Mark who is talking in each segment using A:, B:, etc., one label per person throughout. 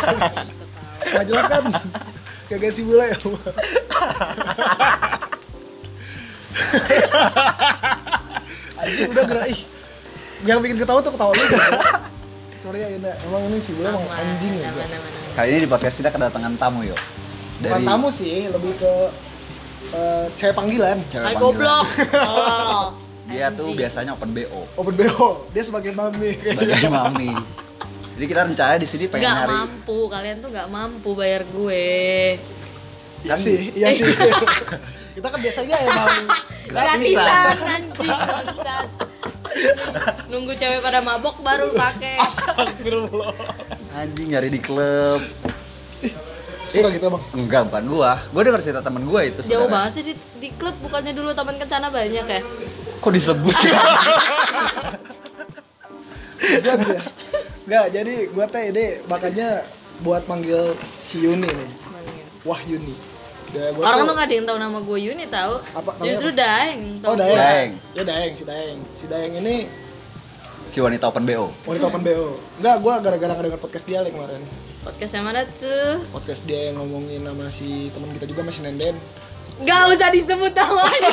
A: Anjing.
B: Nggak jelas kan? Kagak si bule ya. Anjing udah gerak ih. Yang bikin ketawa tuh ketawa lu. Sorry ya Yunda, emang ini si bule emang anjing ya.
A: Aman, aman, aman.
C: Kali ini di podcast kita kedatangan tamu yuk.
B: Bukan tamu sih, lebih ke eh, cewek panggilan.
C: cewek
A: Hai
C: panggilan.
A: goblok. Oh, Tolol.
C: Dia tuh
A: Anjing.
C: biasanya open BO
B: Open BO, dia sebagai mami.
C: sebagai mami. Jadi kita rencana di sini pengen
A: Nggak
C: hari
A: mampu, kalian tuh nggak mampu bayar gue.
B: Iya sih, iya sih. Kita kan biasanya emang
C: Gratisan.
A: Gratisan anjing bangsat. Nunggu cewek pada mabok baru pakai.
C: Iya.
B: Astagfirullah.
C: anjing nyari di klub.
B: Suka gitu bang.
C: Enggak, bukan gua. Gua denger cerita temen gua itu
A: Jauh
C: saudara.
A: banget sih di, di klub bukannya dulu taman kencana banyak ya?
C: Kok disebut? ya?
B: Jadi ya. Nggak, jadi gua teh ini makanya buat manggil si Yuni nih. Wah Yuni. Udah, gua
A: Orang
B: tuh-
A: tuh nggak ada yang tahu nama gue Yuni tahu.
B: Apa, namanya
A: Justru Daeng. tahu
B: Oh Daeng.
A: gua.
C: Daeng.
B: Ya Daeng, si Daeng. Si Daeng ini
C: si wanita open BO.
B: wanita open BO. Enggak, gua gara-gara ngedenger podcast dia like, kemarin.
A: Podcast yang mana tuh?
B: Podcast dia yang ngomongin sama si teman kita juga masih Nenden.
A: Gak usah disebut namanya.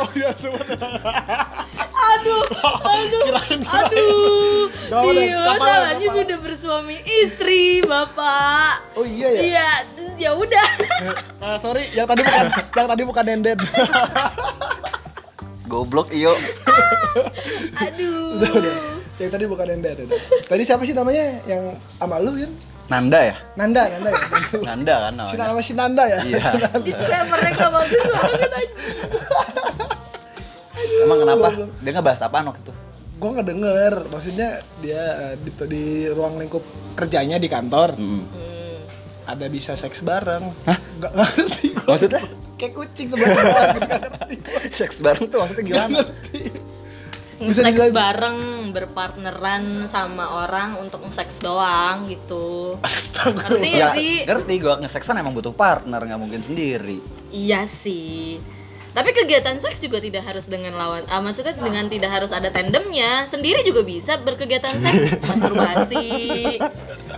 B: Oh iya, sebenarnya.
A: aduh, aduh, aduh.
B: Gak apa-apa,
A: Dio,
B: gak apa-apa,
A: namanya
B: gak apa-apa.
A: sudah bersuami istri, bapak.
B: Oh iya ya.
A: Iya, terus ya udah.
B: Ah, sorry, yang tadi bukan yang tadi bukan Nenden.
C: Goblok iyo.
A: aduh.
B: Udah, udah. yang tadi bukan Nenden. udah. Tadi siapa sih namanya yang sama lu, Yun?
C: Nanda ya?
B: Nanda, Nanda ya.
C: Nanda kan
B: Si
C: namanya.
B: nama si Nanda ya.
C: Iya.
A: Disclaimer mereka bagus banget anjing.
C: Emang kenapa?
B: goblok.
C: Dia ngebahas apaan waktu itu?
B: gue nggak denger maksudnya dia eh, di, di ruang lingkup kerjanya di kantor
C: Mm.
B: ada bisa seks bareng Hah? nggak nggak ngerti gue
C: Maksudnya?
B: kayak kucing sebenarnya nggak ngerti
C: Seks bareng tuh maksudnya
B: nggak
C: gimana?
B: ngerti Bisa
A: Nge-sex
B: dibilang-
A: bareng, berpartneran sama orang untuk nge-sex doang gitu.
B: astaga
A: Ngerti
C: ya,
A: gak sih?
C: ngerti gua ngeseksan emang butuh partner, nggak mungkin sendiri.
A: Iya sih. Tapi kegiatan seks juga tidak harus dengan lawan. Ah, maksudnya dengan tidak harus ada tandemnya. Sendiri juga bisa berkegiatan seks, masturbasi.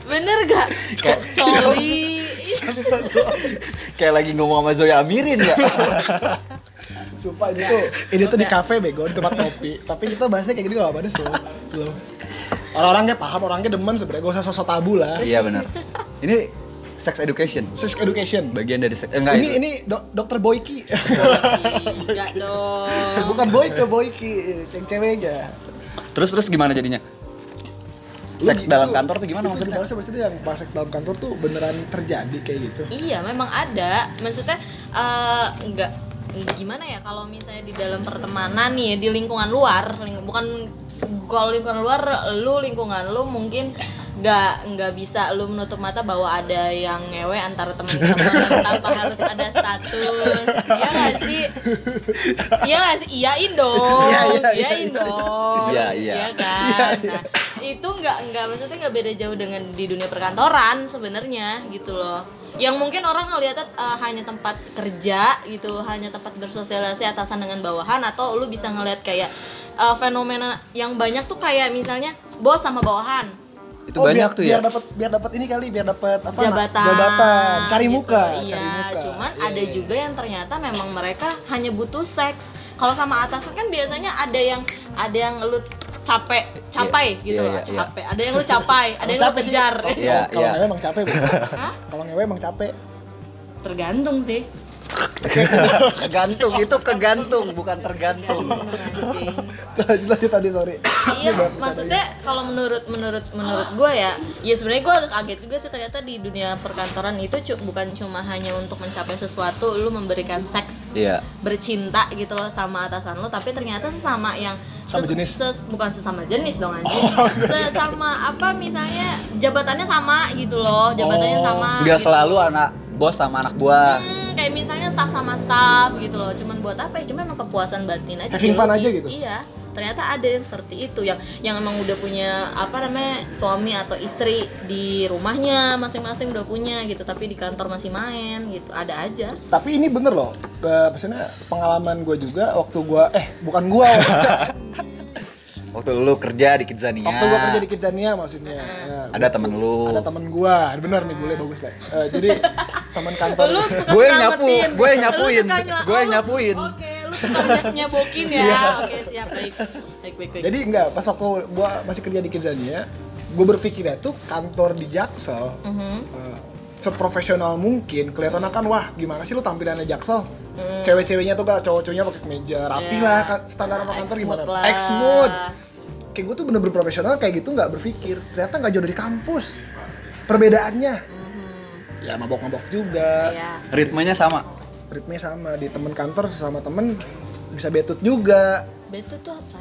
A: Bener gak?
C: Kayak-
A: Coli.
C: Kayak lagi ngomong sama Zoya Amirin ya.
B: sumpah ini tuh ini tuh di kafe bego di tempat kopi tapi kita bahasnya kayak gini nggak apa-apa deh slow slow orang-orangnya paham orangnya demen sebenarnya gak usah sosok tabu lah
C: iya benar. Ini sex education.
B: sex education
C: Bagian dari sex eh, enggak
B: ini
C: itu.
B: ini dok- dokter Boyki
A: Enggak dong.
B: bukan Boyke Boyki cewek cewek aja
C: Terus terus gimana jadinya? Seks dalam kantor tuh gimana maksudnya?
B: Itu maksudnya yang pas seks dalam kantor tuh beneran terjadi kayak gitu.
A: Iya, memang ada. Maksudnya eh, nggak gimana ya kalau misalnya di dalam pertemanan nih di lingkungan luar, ling- bukan kalau lingkungan luar lu lingkungan lu mungkin nggak nggak bisa lu menutup mata bahwa ada yang ngewe antara teman-teman tanpa harus ada status. Iya gak sih? Iya gak sih? Iyain dong.
B: Iya, iya, iya,
A: iyain
B: iya.
A: dong.
C: Iya, iya.
A: kan? Nah, itu nggak nggak maksudnya nggak beda jauh dengan di dunia perkantoran sebenarnya gitu loh. Yang mungkin orang ngeliatnya eh, hanya tempat kerja gitu, hanya tempat bersosialisasi atasan dengan bawahan atau lu bisa ngeliat kayak eh, fenomena yang banyak tuh kayak misalnya bos sama bawahan.
C: Itu banyak
B: Oh, biar,
C: tuh ya.
B: Biar dapat biar dapat ini kali, biar dapat apa? nak?
A: jabatan
B: Jabatan, cari
A: gitu.
B: muka,
A: iya
B: cari muka.
A: cuman
B: Iya.
A: ada juga yang ternyata memang mereka hanya butuh seks kalau sama atasan kan biasanya ada yang ada yang lu capek capai
C: Iya,
A: gitu
C: iya,
A: loh,
C: iya.
A: capek ada yang lu capai ada yang lu
B: Capek sih. Oh.
A: kejar
B: Kalau-
C: Iya,
B: Kalau
C: iya.
B: ngewe emang capek, Bu.
A: Hah?
B: Kalau ngewe emang capek.
A: tergantung sih
C: Kegantung itu kegantung bukan tergantung.
A: anjing.
B: Lanjut lanjut tadi sorry.
A: iya maksudnya kalau menurut menurut menurut gue ya ya sebenarnya gue agak kaget juga sih ternyata di dunia perkantoran itu cu- bukan cuma hanya untuk mencapai sesuatu lu memberikan seks
C: Iya.
A: bercinta gitu loh sama atasan lo tapi ternyata sesama yang
B: Sama jenis. Oh, iya.
A: bukan sesama jenis dong anjing sesama apa misalnya jabatannya sama gitu loh jabatannya
B: Oh,
A: sama
C: Enggak
A: gitu.
C: selalu anak bos sama anak buah.
A: Hmm, kayak misalnya staff sama staff gitu loh cuman buat apa ya cuma emang kepuasan batin aja
B: Having fun
A: biologis.
B: aja gitu?
A: iya ternyata ada yang seperti itu yang yang emang udah punya apa namanya suami atau istri di rumahnya masing-masing udah punya gitu tapi di kantor masih main gitu ada aja
B: Tapi ini bener loh. Ke maksudnya pengalaman gue juga waktu gue eh bukan gue.
C: Waktu lu kerja di Kidzania.
B: Waktu gua kerja di Kidzania maksudnya. Ya,
C: Iya. Ada temen lu.
B: ada temen gua, benar nih bule bagus lah. Eh, jadi temen kantor.
A: Lu tukang
C: Gue yang nyapu,
A: nyelamatin.
C: gue yang
A: Lu
C: nyapuin,
A: tukang nyela-
C: gue
A: oh,
C: yang
A: lu-
C: nyapuin. Iya.
A: Oke, lu tukang nyap- nyabokin ya. Oke, siap baik. Baik, baik, baik.
B: Jadi enggak, pas waktu gua masih kerja di Kidzania, gua berpikirnya tuh kantor di Jaksel
A: Mhm.
B: eh, seprofesional mungkin kelihatan akan wah gimana sih lu tampilannya Jaksel
A: Mm.
B: cewek-ceweknya tuh gak cowok-cowoknya pakai kemeja rapi
A: Iya.
B: lah ka- standar orang kantor
A: Ex-mood
B: gimana
A: lah.
B: ex mood kayak gue tuh bener-bener profesional kayak gitu nggak berpikir ternyata nggak jauh dari kampus perbedaannya
A: Mhm.
B: ya mabok-mabok juga
A: Iya.
C: Ritmenya sama.
B: ritmenya sama di temen kantor sesama temen bisa betut juga
A: Betul tuh apa?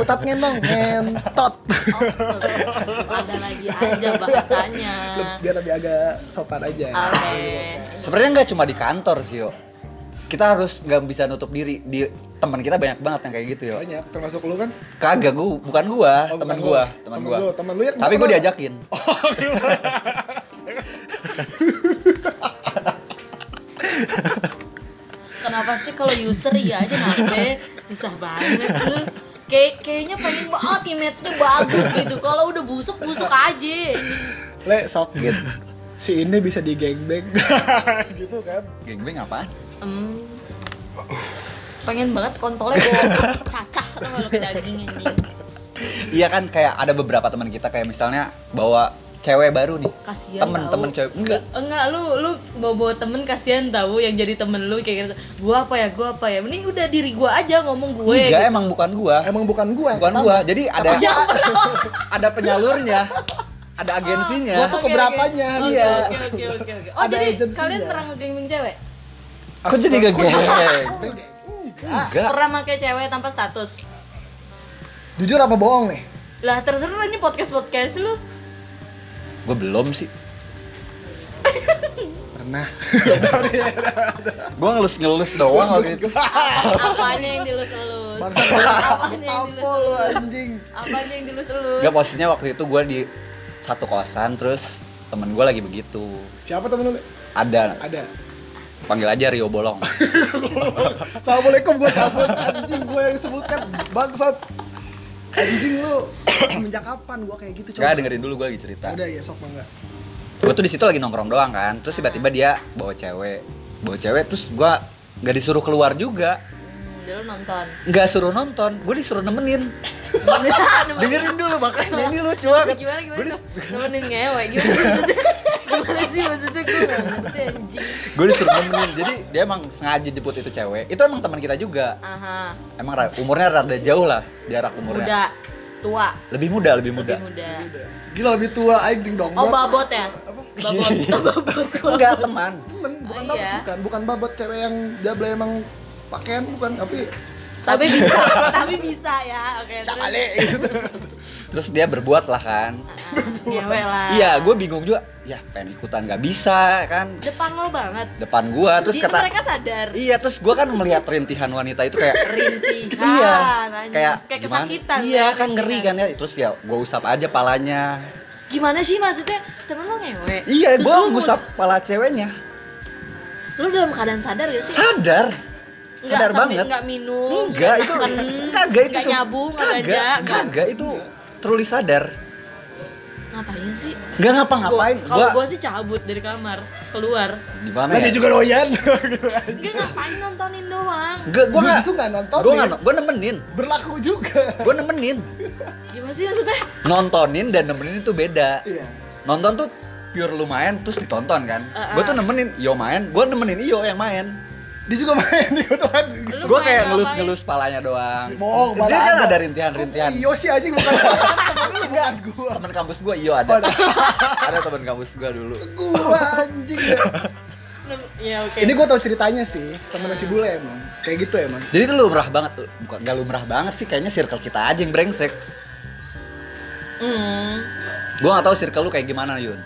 B: kutat ngenong ngentot
A: Oh, ada lagi aja bahasanya.
B: Leb- biar lebih agak sopan aja
A: Oke.
C: Sebenarnya nggak cuma di kantor sih, yo. Kita harus nggak bisa nutup diri. Di teman kita banyak banget yang kayak gitu, yo.
B: banyak termasuk lu kan
C: Kagak gua, bukan gua,
B: Oh,
C: teman
B: bukan
C: gua,
B: lu.
C: teman
B: Temen
C: gua.
B: lu, temen lu ya,
C: Tapi gua
B: kenapa?
C: diajakin.
A: Kenapa sih kalau user iya aja nabe susah banget lu. Kayak kayaknya pengen banget image-nya bagus gitu. Kalau udah busuk busuk aja.
B: le sok gitu si ini bisa di gangbang gitu kan
C: Gengbeng apaan?
A: Hmm. Pengen banget kontolnya gue cacah tuh kalau ke daging anjing.
C: Iya kan kayak ada beberapa teman kita kayak misalnya bawa cewek baru nih.
A: Kasihan tau.
C: Temen-temen cewek enggak.
A: Enggak, lu lu bawa-bawa temen kasihan tahu yang jadi temen lu kayak gitu. Gua apa ya, gua apa ya. Mending udah diri gua aja ngomong gue.
C: Enggak
A: gitu.
C: emang bukan gua.
B: emang bukan gua yang
C: Bukan
B: pertama. ya?
C: gua. Jadi ada
A: Iya.
C: ada penyalurnya, ada agensinya.
B: Gua tuh
A: Oke, Iya.
B: keberapanya
A: oke.
B: gitu.
A: Oke, oke, oke, oke. Oh,
B: Ada
A: jadi
B: agensinya.
A: kalian pernah ngegaming cewek?
C: Kok jadi
B: Astaga,
C: gegeng?
B: enggak
C: Enggak.
A: Pernah pakai cewek tanpa status?
B: jujur apa bohong nih
A: Lah, terserah ini podcast-podcast lu.
C: Gua belum sih.
B: pernah
C: Gua ngelus-ngelus doang waktu itu.
A: Apanya yang dilus-elus?
B: Barusan
A: Apanya yang
B: apa lu
A: dilus-elus?
B: anjing
A: Apanya yang dilus-elus?
C: Enggak posisinya waktu itu gua di satu kosan terus temen gua lagi begitu.
B: siapa temen lu Le?
C: Ada
B: ada
C: panggil aja Rio Bolong.
B: Assalamualaikum gue cabut anjing gue yang disebutkan bangsat anjing lu semenjak kapan gue kayak gitu
C: Enggak dengerin dulu gua lagi cerita.
B: udah ya sok bangga
C: gue tuh di situ lagi nongkrong doang kan terus tiba-tiba dia bawa cewek bawa cewek terus gue nggak disuruh keluar juga
A: Hmm, Dulu nonton.
C: nggak suruh nonton gue disuruh nemenin dengerin dulu makanya ini lucu banget
A: gimana gimana
C: gue
A: dong? nemenin ngewe gimana sih maksudnya? gimana sih maksudnya gue gak ngerti anjing
C: disuruh nemenin jadi dia emang sengaja jemput itu cewek itu emang teman kita juga
A: aha
C: emang ra- umurnya rada jauh lah jarak
A: muda
C: umurnya
A: tua
C: lebih muda lebih muda
A: lebih muda
B: udah gila lebih tua anjing dong
A: oh
B: Buat
A: babot ya babot
C: enggak teman
B: temen bukan
A: Oh,
B: babot,
A: iya.
B: bukan bukan babot cewek yang jable emang pakaian bukan tapi
A: tapi bisa tapi bisa ya oke terus
B: cale gitu
C: terus dia berbuat lah kan
A: Ah, ngewe lah
C: iya gue bingung juga ya pengen ikutan nggak bisa kan
A: depan lo banget
C: depan gue terus
A: Jadi
C: kata
A: mereka sadar
C: Iya, terus gua kan melihat rintihan wanita itu kayak
A: rintihan
C: Iya,
A: anjing.
C: kayak,
A: Ah, kayak
C: gimana?
A: kesakitan
C: Iya,
A: ya,
C: kan ngeri kan
A: rintihan.
C: ya. Terus ya gua usap aja palanya.
A: gimana sih maksudnya temen lo ngewe
C: Iya,
A: Terus
C: gua
A: lo mus-
C: ngusap pala ceweknya.
A: lo dalam keadaan sadar gak sih
C: Sadar. Sadar banget.
A: Enggak minum.
C: Enggak, itu
A: makan,
C: kagak itu.
A: nggak
C: se-
A: nyabu, enggak
C: kagak,
A: ganja, enggak.
C: kagak, itu truly sadar.
A: Ngapain sih?
C: Enggak ngapa-ngapain.
A: Gua- Kalau
C: Gua,
A: gua sih cabut dari kamar, keluar.
C: gimana
B: nah
C: ya?
B: dia juga doyan Gitu.
A: Enggak ngapain nontonin doang.
C: Enggak, gua
B: Gua
C: enggak.
B: justru nggak nontonin.
C: Gua enggak, gua nemenin.
B: berlaku juga
C: Gua nemenin.
A: Gimana sih maksudnya?
C: Nontonin dan nemenin itu beda.
B: iya
C: Nonton tuh pure lu main terus ditonton kan.
A: Uh-uh.
C: Gua tuh nemenin, yo main, gua nemenin Iyo yang main.
B: dia juga main di kutuan
A: Lu main
C: Gue kayak
A: ngapain?
C: ngelus-ngelus palanya doang.
B: bohong
C: Dia
B: malah
C: kan ada rintihan-rintihan.
B: Iya sih anjing bukan temen lu bukan gua
C: Temen kampus gue, iyo ada. ada temen kampus gue dulu.
B: gua anjing ya.
A: Nem- Ya oke.
B: ini gua tau ceritanya sih temen si bule emang kayak gitu emang
C: Jadi itu lumrah banget tuh. Bukan gak lumrah banget sih, kayaknya circle kita aja yang brengsek.
A: Hmm.
C: Gue gak tahu circle lu kayak gimana, Yun.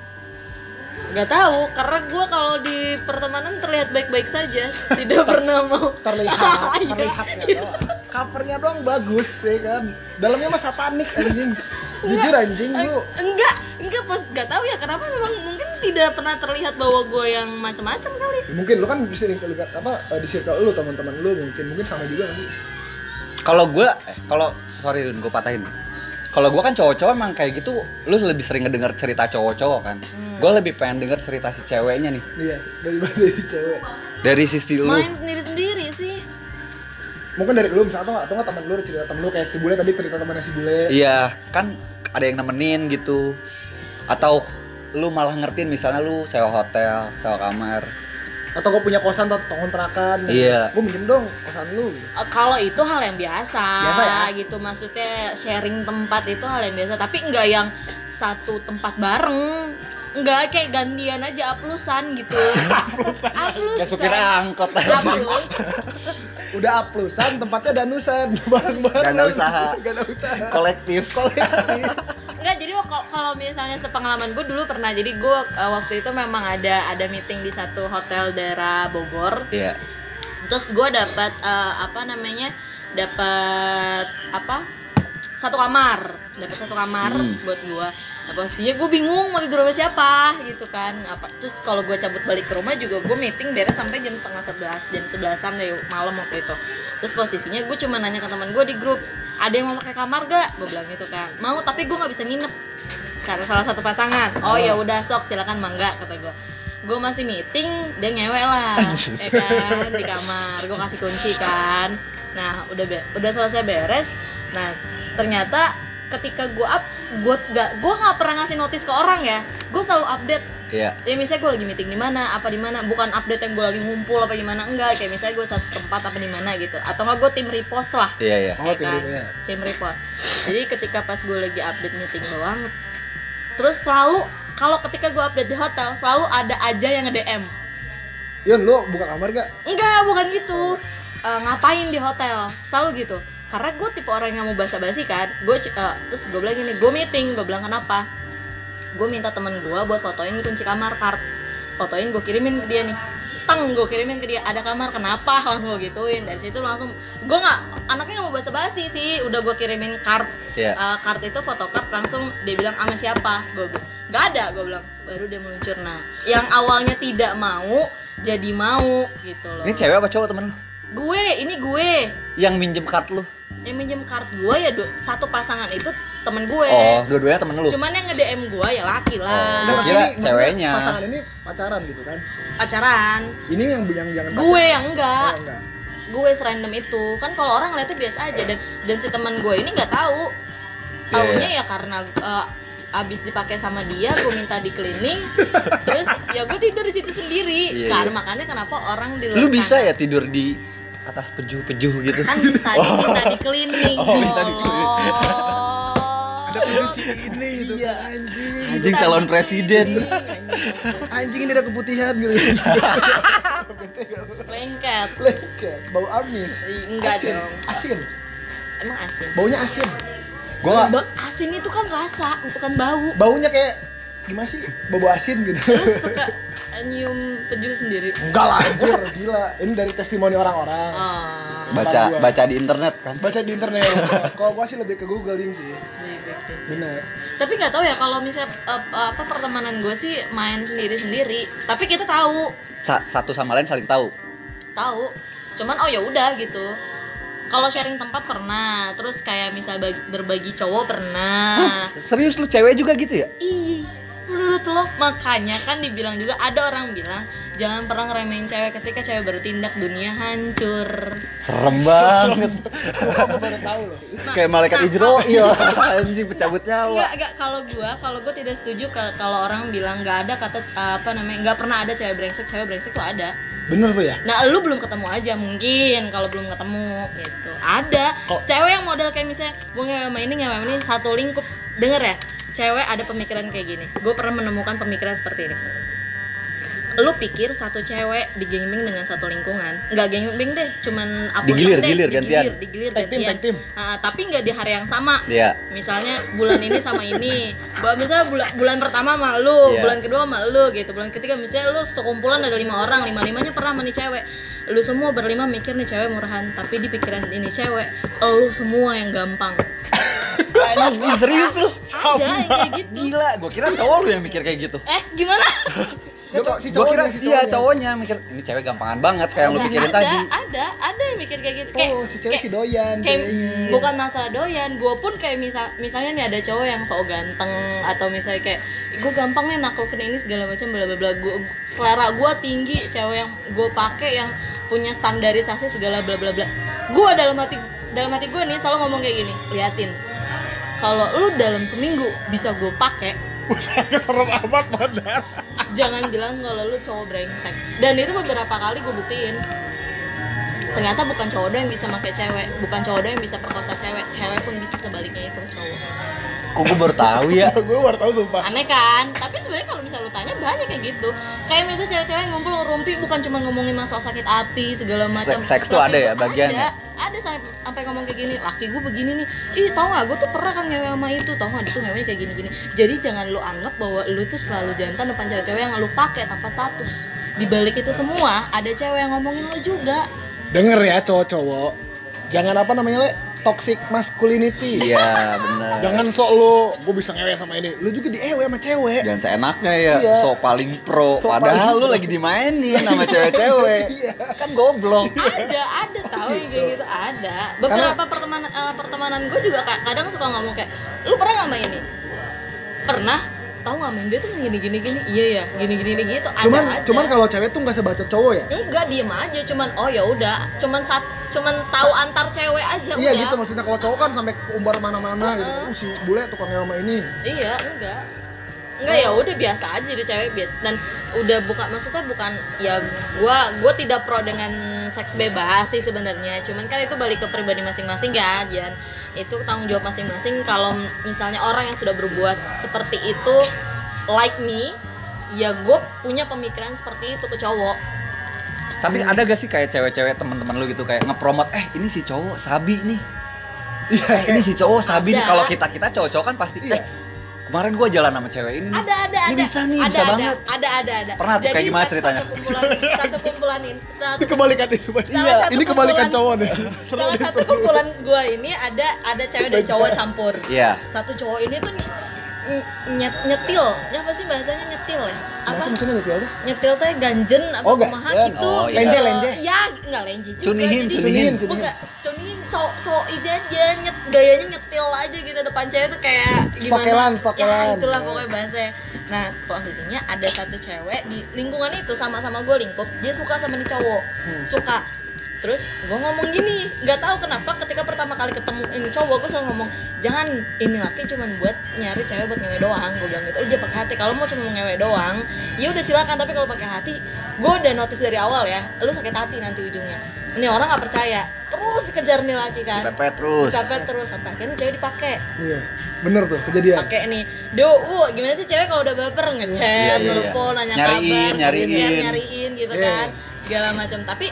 A: Gak tahu, karena gua kalau di pertemanan terlihat baik-baik saja, tidak pernah mau.
B: terlihat
A: Iya.
B: terlihatnya doang covernya doang bagus ya kan dalamnya mah satanik anjing jujur anjing
A: Eh,
B: lu
A: Enggak, enggak pas gak tahu ya kenapa memang mungkin tidak pernah terlihat bahwa gua yang macam-macam kali.
B: Ya, mungkin lu kan di circle apa eh, di circle lu teman-teman lu mungkin mungkin sama juga nanti
C: kalau gue eh, kalau sorry gue patahin kalau gue kan cowok-cowok emang kayak gitu lu lebih sering ngedenger cerita cowok-cowok kan
A: Hmm.
C: gue lebih pengen denger cerita si ceweknya nih
B: Iya, daripada dari cewek.
C: dari sisi lu
A: main sendiri sendiri sih
B: Mungkin dari lu misalnya atau nggak- atau nggak teman lu ada cerita temen lu kayak si bule tadi cerita temannya si bule.
C: iya kan ada yang nemenin gitu atau lu malah ngertiin misalnya lu sewa hotel sewa kamar
B: Atau gue punya kosan atau atau kontrakan.
C: Iya.
B: Gue minjem dong kosan lu.
A: Eh, kalau itu hal yang biasa,
B: Biasa ya?
A: gitu maksudnya sharing tempat itu hal yang biasa tapi nggak yang satu tempat bareng nggak kayak gantian aja aplusan gitu aplusan
C: kayak supir angkot aja
A: Aplus.
B: Udah aplusan, tempatnya danusan, bareng-bareng.
C: Dana usaha.
B: Dana usaha.
C: kolektif kolektif
A: Enggak, jadi wak- kalau misalnya sepengalaman gue dulu pernah jadi gue eh, waktu itu memang ada ada meeting di satu hotel daerah Bogor
C: iya
A: terus gue dapat eh, apa namanya dapat apa satu kamar dapat satu kamar
C: Hmm.
A: buat gue nah, posisinya gue bingung mau tidur sama siapa gitu kan apa terus kalau gue cabut balik ke rumah juga gue meeting beres sampai jam setengah sebelas jam sebelasan deh malam waktu itu terus posisinya gue cuma nanya ke teman gue di grup ada yang mau pakai kamar gak gue bilang gitu kan mau tapi gue nggak bisa nginep karena salah satu pasangan oh ya udah sok silakan mangga kata gue gue masih meeting dia ngewe lah ya kan di kamar gue kasih kunci kan nah udah be- udah selesai beres nah ternyata ketika gue up gue gak gue nggak pernah ngasih notice ke orang ya gue selalu update
C: iya
A: ya misalnya gue lagi meeting di mana apa di mana bukan update yang gue lagi ngumpul apa gimana enggak kayak misalnya gue satu tempat apa di mana gitu atau enggak gue tim repost lah
C: iya iya
B: Oh,
A: ya kan?
B: tiba-tiba.
A: tim repost jadi ketika pas gue lagi update meeting doang terus selalu kalau ketika gue update di hotel selalu ada aja yang nge DM
B: Yun, lu buka kamar gak?
A: enggak bukan gitu Eh, ngapain di hotel selalu gitu karena gue tipe orang yang mau basa-basi kan gue c- eh, terus gue bilang gini gue meeting gue bilang kenapa gue minta temen gue buat fotoin kunci kamar kart fotoin gue kirimin ke dia nih tang gue kirimin ke dia ada kamar kenapa langsung gue gituin dari situ langsung gue nggak anaknya nggak mau basa-basi sih udah gue kirimin kart
C: Iya.
A: Eh, kart itu fotokart langsung dia bilang sama siapa gue bilang nggak ada gue bilang baru dia meluncur nah yang awalnya tidak mau jadi mau gitu loh
C: ini cewek apa cowok temen lu
A: gue ini gue
C: yang minjem kartu lu
A: yang minjem kart gue ya do- satu pasangan itu temen gue
C: oh dua-duanya temen lu
A: cuman yang nge DM gue ya laki
C: Oh,
A: lah
C: Gua kira
B: Nah, maksudnya
C: ceweknya.
B: Pasangan ini pacaran gitu kan?
A: pacaran
B: Ini yang yang jangan
A: gue
B: pacaran.
A: yang enggak
B: Oh, enggak.
A: gue serandom itu kan kalau orang ngeliatnya biasa aja dan dan si teman gue ini nggak tahu
C: Iya,
A: tahunya ya karena eh, abis dipakai sama dia gue minta di cleaning terus ya gue tidur di situ sendiri
C: Iya,
A: kan
C: iya.
A: makanya kenapa orang di luar
C: lu bisa
A: sana-
C: ya tidur di atas pejuh-pejuh gitu
A: kan tadi minta di cleaning Oh.
C: Oh, minta di
B: Ada polisi ini gitu.
C: Iya.
B: Anjing.
C: anjing calon presiden
B: Anjing ini ada keputihan gitu.
A: lengket
B: Lengket, bau amis.
A: Ih, enggak
B: asin.
A: dong.
B: Asin.
A: emang asin
B: Baunya asin.
C: gua
A: Ba- asin itu kan rasa bukan bau
B: Baunya kayak gimana sih? Bau asin gitu.
A: terus suka nyium peju sendiri
B: Enggak lah, anjir, gila. Ini dari testimoni orang-orang.
A: ah
C: baca
B: Gua.
C: baca di internet kan
B: Baca di internet. Kalau gua sih lebih ke googling sih.
A: bebek deh.
B: Bener.
A: tapi nggak tahu ya kalau misalnya eh, apa pertemanan gue sih main sendiri sendiri tapi kita tahu
C: Sa- satu sama lain saling tahu
A: tahu cuman oh ya udah gitu kalau sharing tempat pernah terus kayak misal bag- berbagi cowok pernah
C: serius lu cewek juga gitu ya
A: ih menurut lo makanya kan dibilang juga ada orang bilang jangan pernah ngeremehin cewek ketika cewek bertindak dunia hancur
C: serem banget
B: Gua baru tahu loh.
A: Nah,
C: kayak malaikat
A: oh.
C: Ijro iya anjing pencabut nyawa
A: Enggak, enggak kalau gua, kalau gua tidak setuju ke- kalau orang bilang nggak ada kata apa namanya, nggak pernah ada cewek brengsek, cewek brengsek tuh ada.
B: Bener tuh ya?
A: Nah, lu belum ketemu aja mungkin kalau belum ketemu gitu. Ada
B: Kok-
A: cewek yang model kayak misalnya gue ngewe sama ini ngewe sama ini satu lingkup. Denger ya? Cewek ada pemikiran kayak gini. Gue pernah menemukan pemikiran seperti ini. Lu pikir satu cewek digeming dengan satu lingkungan? Nggak gembing deh, cuman apa
C: Digilir,
A: deh,
C: gilir, gantian.
A: Digilir, digilir
B: Tag team,
A: gantian.
B: tag team.
A: Ah, tapi nggak di hari yang sama
C: iya
A: misalnya bulan ini sama ini Ba- misalnya bulan bulan pertama sama lu
C: Iya.
A: bulan kedua sama lu gitu bulan ketiga misalnya lu sekumpulan ada lima orang lima limanya pernah sama nih cewek lu semua berlima mikir nih cewek murahan tapi di pikiran ini cewek lu semua yang gampang
C: anjing serius lu
A: ada yang kayak gitu
C: gila gua kira cowok lu yang mikir kayak gitu
A: eh gimana
B: Gua- si
C: Gua
B: cowoknya,
C: kira
B: si
C: iya
B: cowoknya.
C: cowoknya mikir ini cewek gampangan banget kayak yang lu
A: Dan
C: pikirin
A: ada,
C: tadi.
A: Ada, ada yang mikir kayak gitu. Kayak,
B: Oh, si cewek si doyan
A: kayak
B: ceweknya.
A: bukan masalah doyan, gue pun kayak misal misalnya nih ada cowok yang sok ganteng atau misalnya kayak gue gampang nih naklukin ini segala macam bla bla bla gua, selera gue tinggi cewek yang gue pakai yang punya standarisasi segala bla bla bla gue dalam hati dalam hati gue nih selalu ngomong kayak gini liatin kalau lu dalam seminggu bisa gue pakai
B: Serem amat bandar.
A: jangan bilang kalau lu cowok brengsek dan itu beberapa kali gue buktiin ternyata bukan cowok doang yang bisa pakai cewek bukan cowok doang yang bisa perkosa cewek cewek pun bisa sebaliknya itu ke cowok
C: Kok gue baru tahu ya?
B: gue baru tahu sumpah.
A: aneh kan tapi sebenarnya kalau misalnya lu tanya banyak kayak gitu kayak misalnya cewek-cewek ngumpul rumpi bukan cuma ngomongin masalah sakit hati segala macam
C: Seks- seks tuh
A: Laki
C: ada ya
A: gua-
C: bagiannya?
A: ada, ada sampai sampai ngomong kayak gini laki gue begini nih ih tau gak gue tuh pernah kan ngewe sama itu tau gak dia tuh ngewenya kayak gini gini jadi jangan lu anggap bahwa lu tuh selalu jantan depan cewek-cewek yang lu pakai tanpa status di balik itu semua ada cewek yang ngomongin lu juga
B: Denger ya cowok-cowok. Jangan apa namanya, Le? Toxic masculinity.
C: Iya, benar.
B: Jangan sok lu, gue bisa ngewe sama ini. Lu juga di ewe sama cewek.
C: Jangan seenaknya ya,
B: Iya.
C: so paling pro.
B: Sok paling
C: Padahal lu
B: pro.
C: lagi dimainin sama cewek-cewek.
B: Iya.
C: Kan goblok.
A: ada ada tahu yang kayak gitu ada beberapa pertemanan eh, pertemanan gue juga ka- kadang suka ngomong kayak lu pernah nggak main ini pernah tahu nggak main dia tuh gini gini gini iya ya gini gini gini gitu ada
B: Cuman
A: aja.
B: cuman kalau cewek tuh nggak sebaca cowok ya.
A: enggak diem aja cuman oh ya udah cuman saat cuman tahu antar cewek aja
B: Iya
A: udah.
B: gitu maksudnya kalau cowok kan sampai keumbar mana-mana gitu. Uh, si bule tukang ngewe sama ini.
A: iya enggak enggak ya udah biasa aja jadi cewek biasa dan udah buka maksudnya bukan ya gua gua tidak pro dengan seks bebas sih sebenarnya cuman kan itu balik ke pribadi masing-masing ya Jan itu tanggung jawab masing-masing kalau misalnya orang yang sudah berbuat seperti itu like me ya gue punya pemikiran seperti itu ke cowok
C: Tapi ada gak sih kayak cewek-cewek teman-teman lu gitu kayak ngepromot, "Eh, ini si cowok sabi nih." Eh, ini si cowok sabi nih.
A: Ada.
C: Kalau kita-kita cowok-cowok kan pasti,
B: Iya.
C: "Eh, kemarin gua jalan sama cewek ini nih."
A: ada ada
C: Ini
A: ada
C: bisa nih,
A: ada,
C: bisa
A: ada,
C: banget.
A: ada ada ada
C: Pernah tuh,
A: Jadi
C: kayak gimana
A: satu-
C: ceritanya?
A: satu kumpulan satu kumpulan ini satu
B: Ini kebalikan itu. Mas. Iya,
A: Salah satu
B: ini kebalikan
A: kumpulan-
B: cowok deh. Seru
A: Salah
B: deh,
A: satu
B: seru.
A: kumpulan gua ini ada ada cewek dan cowok campur.
C: Iya.
A: Satu cowok ini tuh ny- ny- nyetil, ya apa sih bahasanya nyetil ya? Apa?
B: Masa maksudnya nyetil tuh?
A: Nyetil teh ganjen apa
B: Oh,
A: kumaha
C: ganjen.
A: gitu.
C: Oh, iya.
B: Lenje, lenje.
A: Ya, enggak lenje juga.
C: Cunihin,
A: jadi-
B: cunihin, cunihin.
A: Bukan, cunihin so so ide aja nyet, gayanya nyetil aja gitu depan cewek tuh kayak gimana?
B: Stokelan, stokelan.
A: Ya, itulah pokoknya bahasanya. Nah, posisinya ada satu cewek di lingkungan itu sama-sama gue lingkup, dia suka sama nih cowok. Suka. Terus gue ngomong gini, nggak tahu kenapa ketika pertama kali ketemu ini cowok gue selalu ngomong jangan ini laki cuman buat nyari cewek buat ngewe doang. Gue bilang gitu, lu jangan pakai hati. Kalau mau cuma mau ngewe doang, ya udah silakan. Tapi kalau pakai hati, gue udah notice dari awal ya, lu sakit hati nanti ujungnya. Ini orang nggak percaya, terus dikejar nih laki kan.
C: Pepe terus.
A: Sampai terus sampai akhirnya cewek dipakai
B: Iya. Bener tuh kejadian.
A: pakai nih do uh, gimana sih cewek kalau udah baper
C: Iya, iya,
A: ngechat
C: iya.
A: telepon nanya
C: Nyariin,
A: kabar
C: nyariin.
A: nyariin nyariin gitu
B: Iya.
A: kan segala macam tapi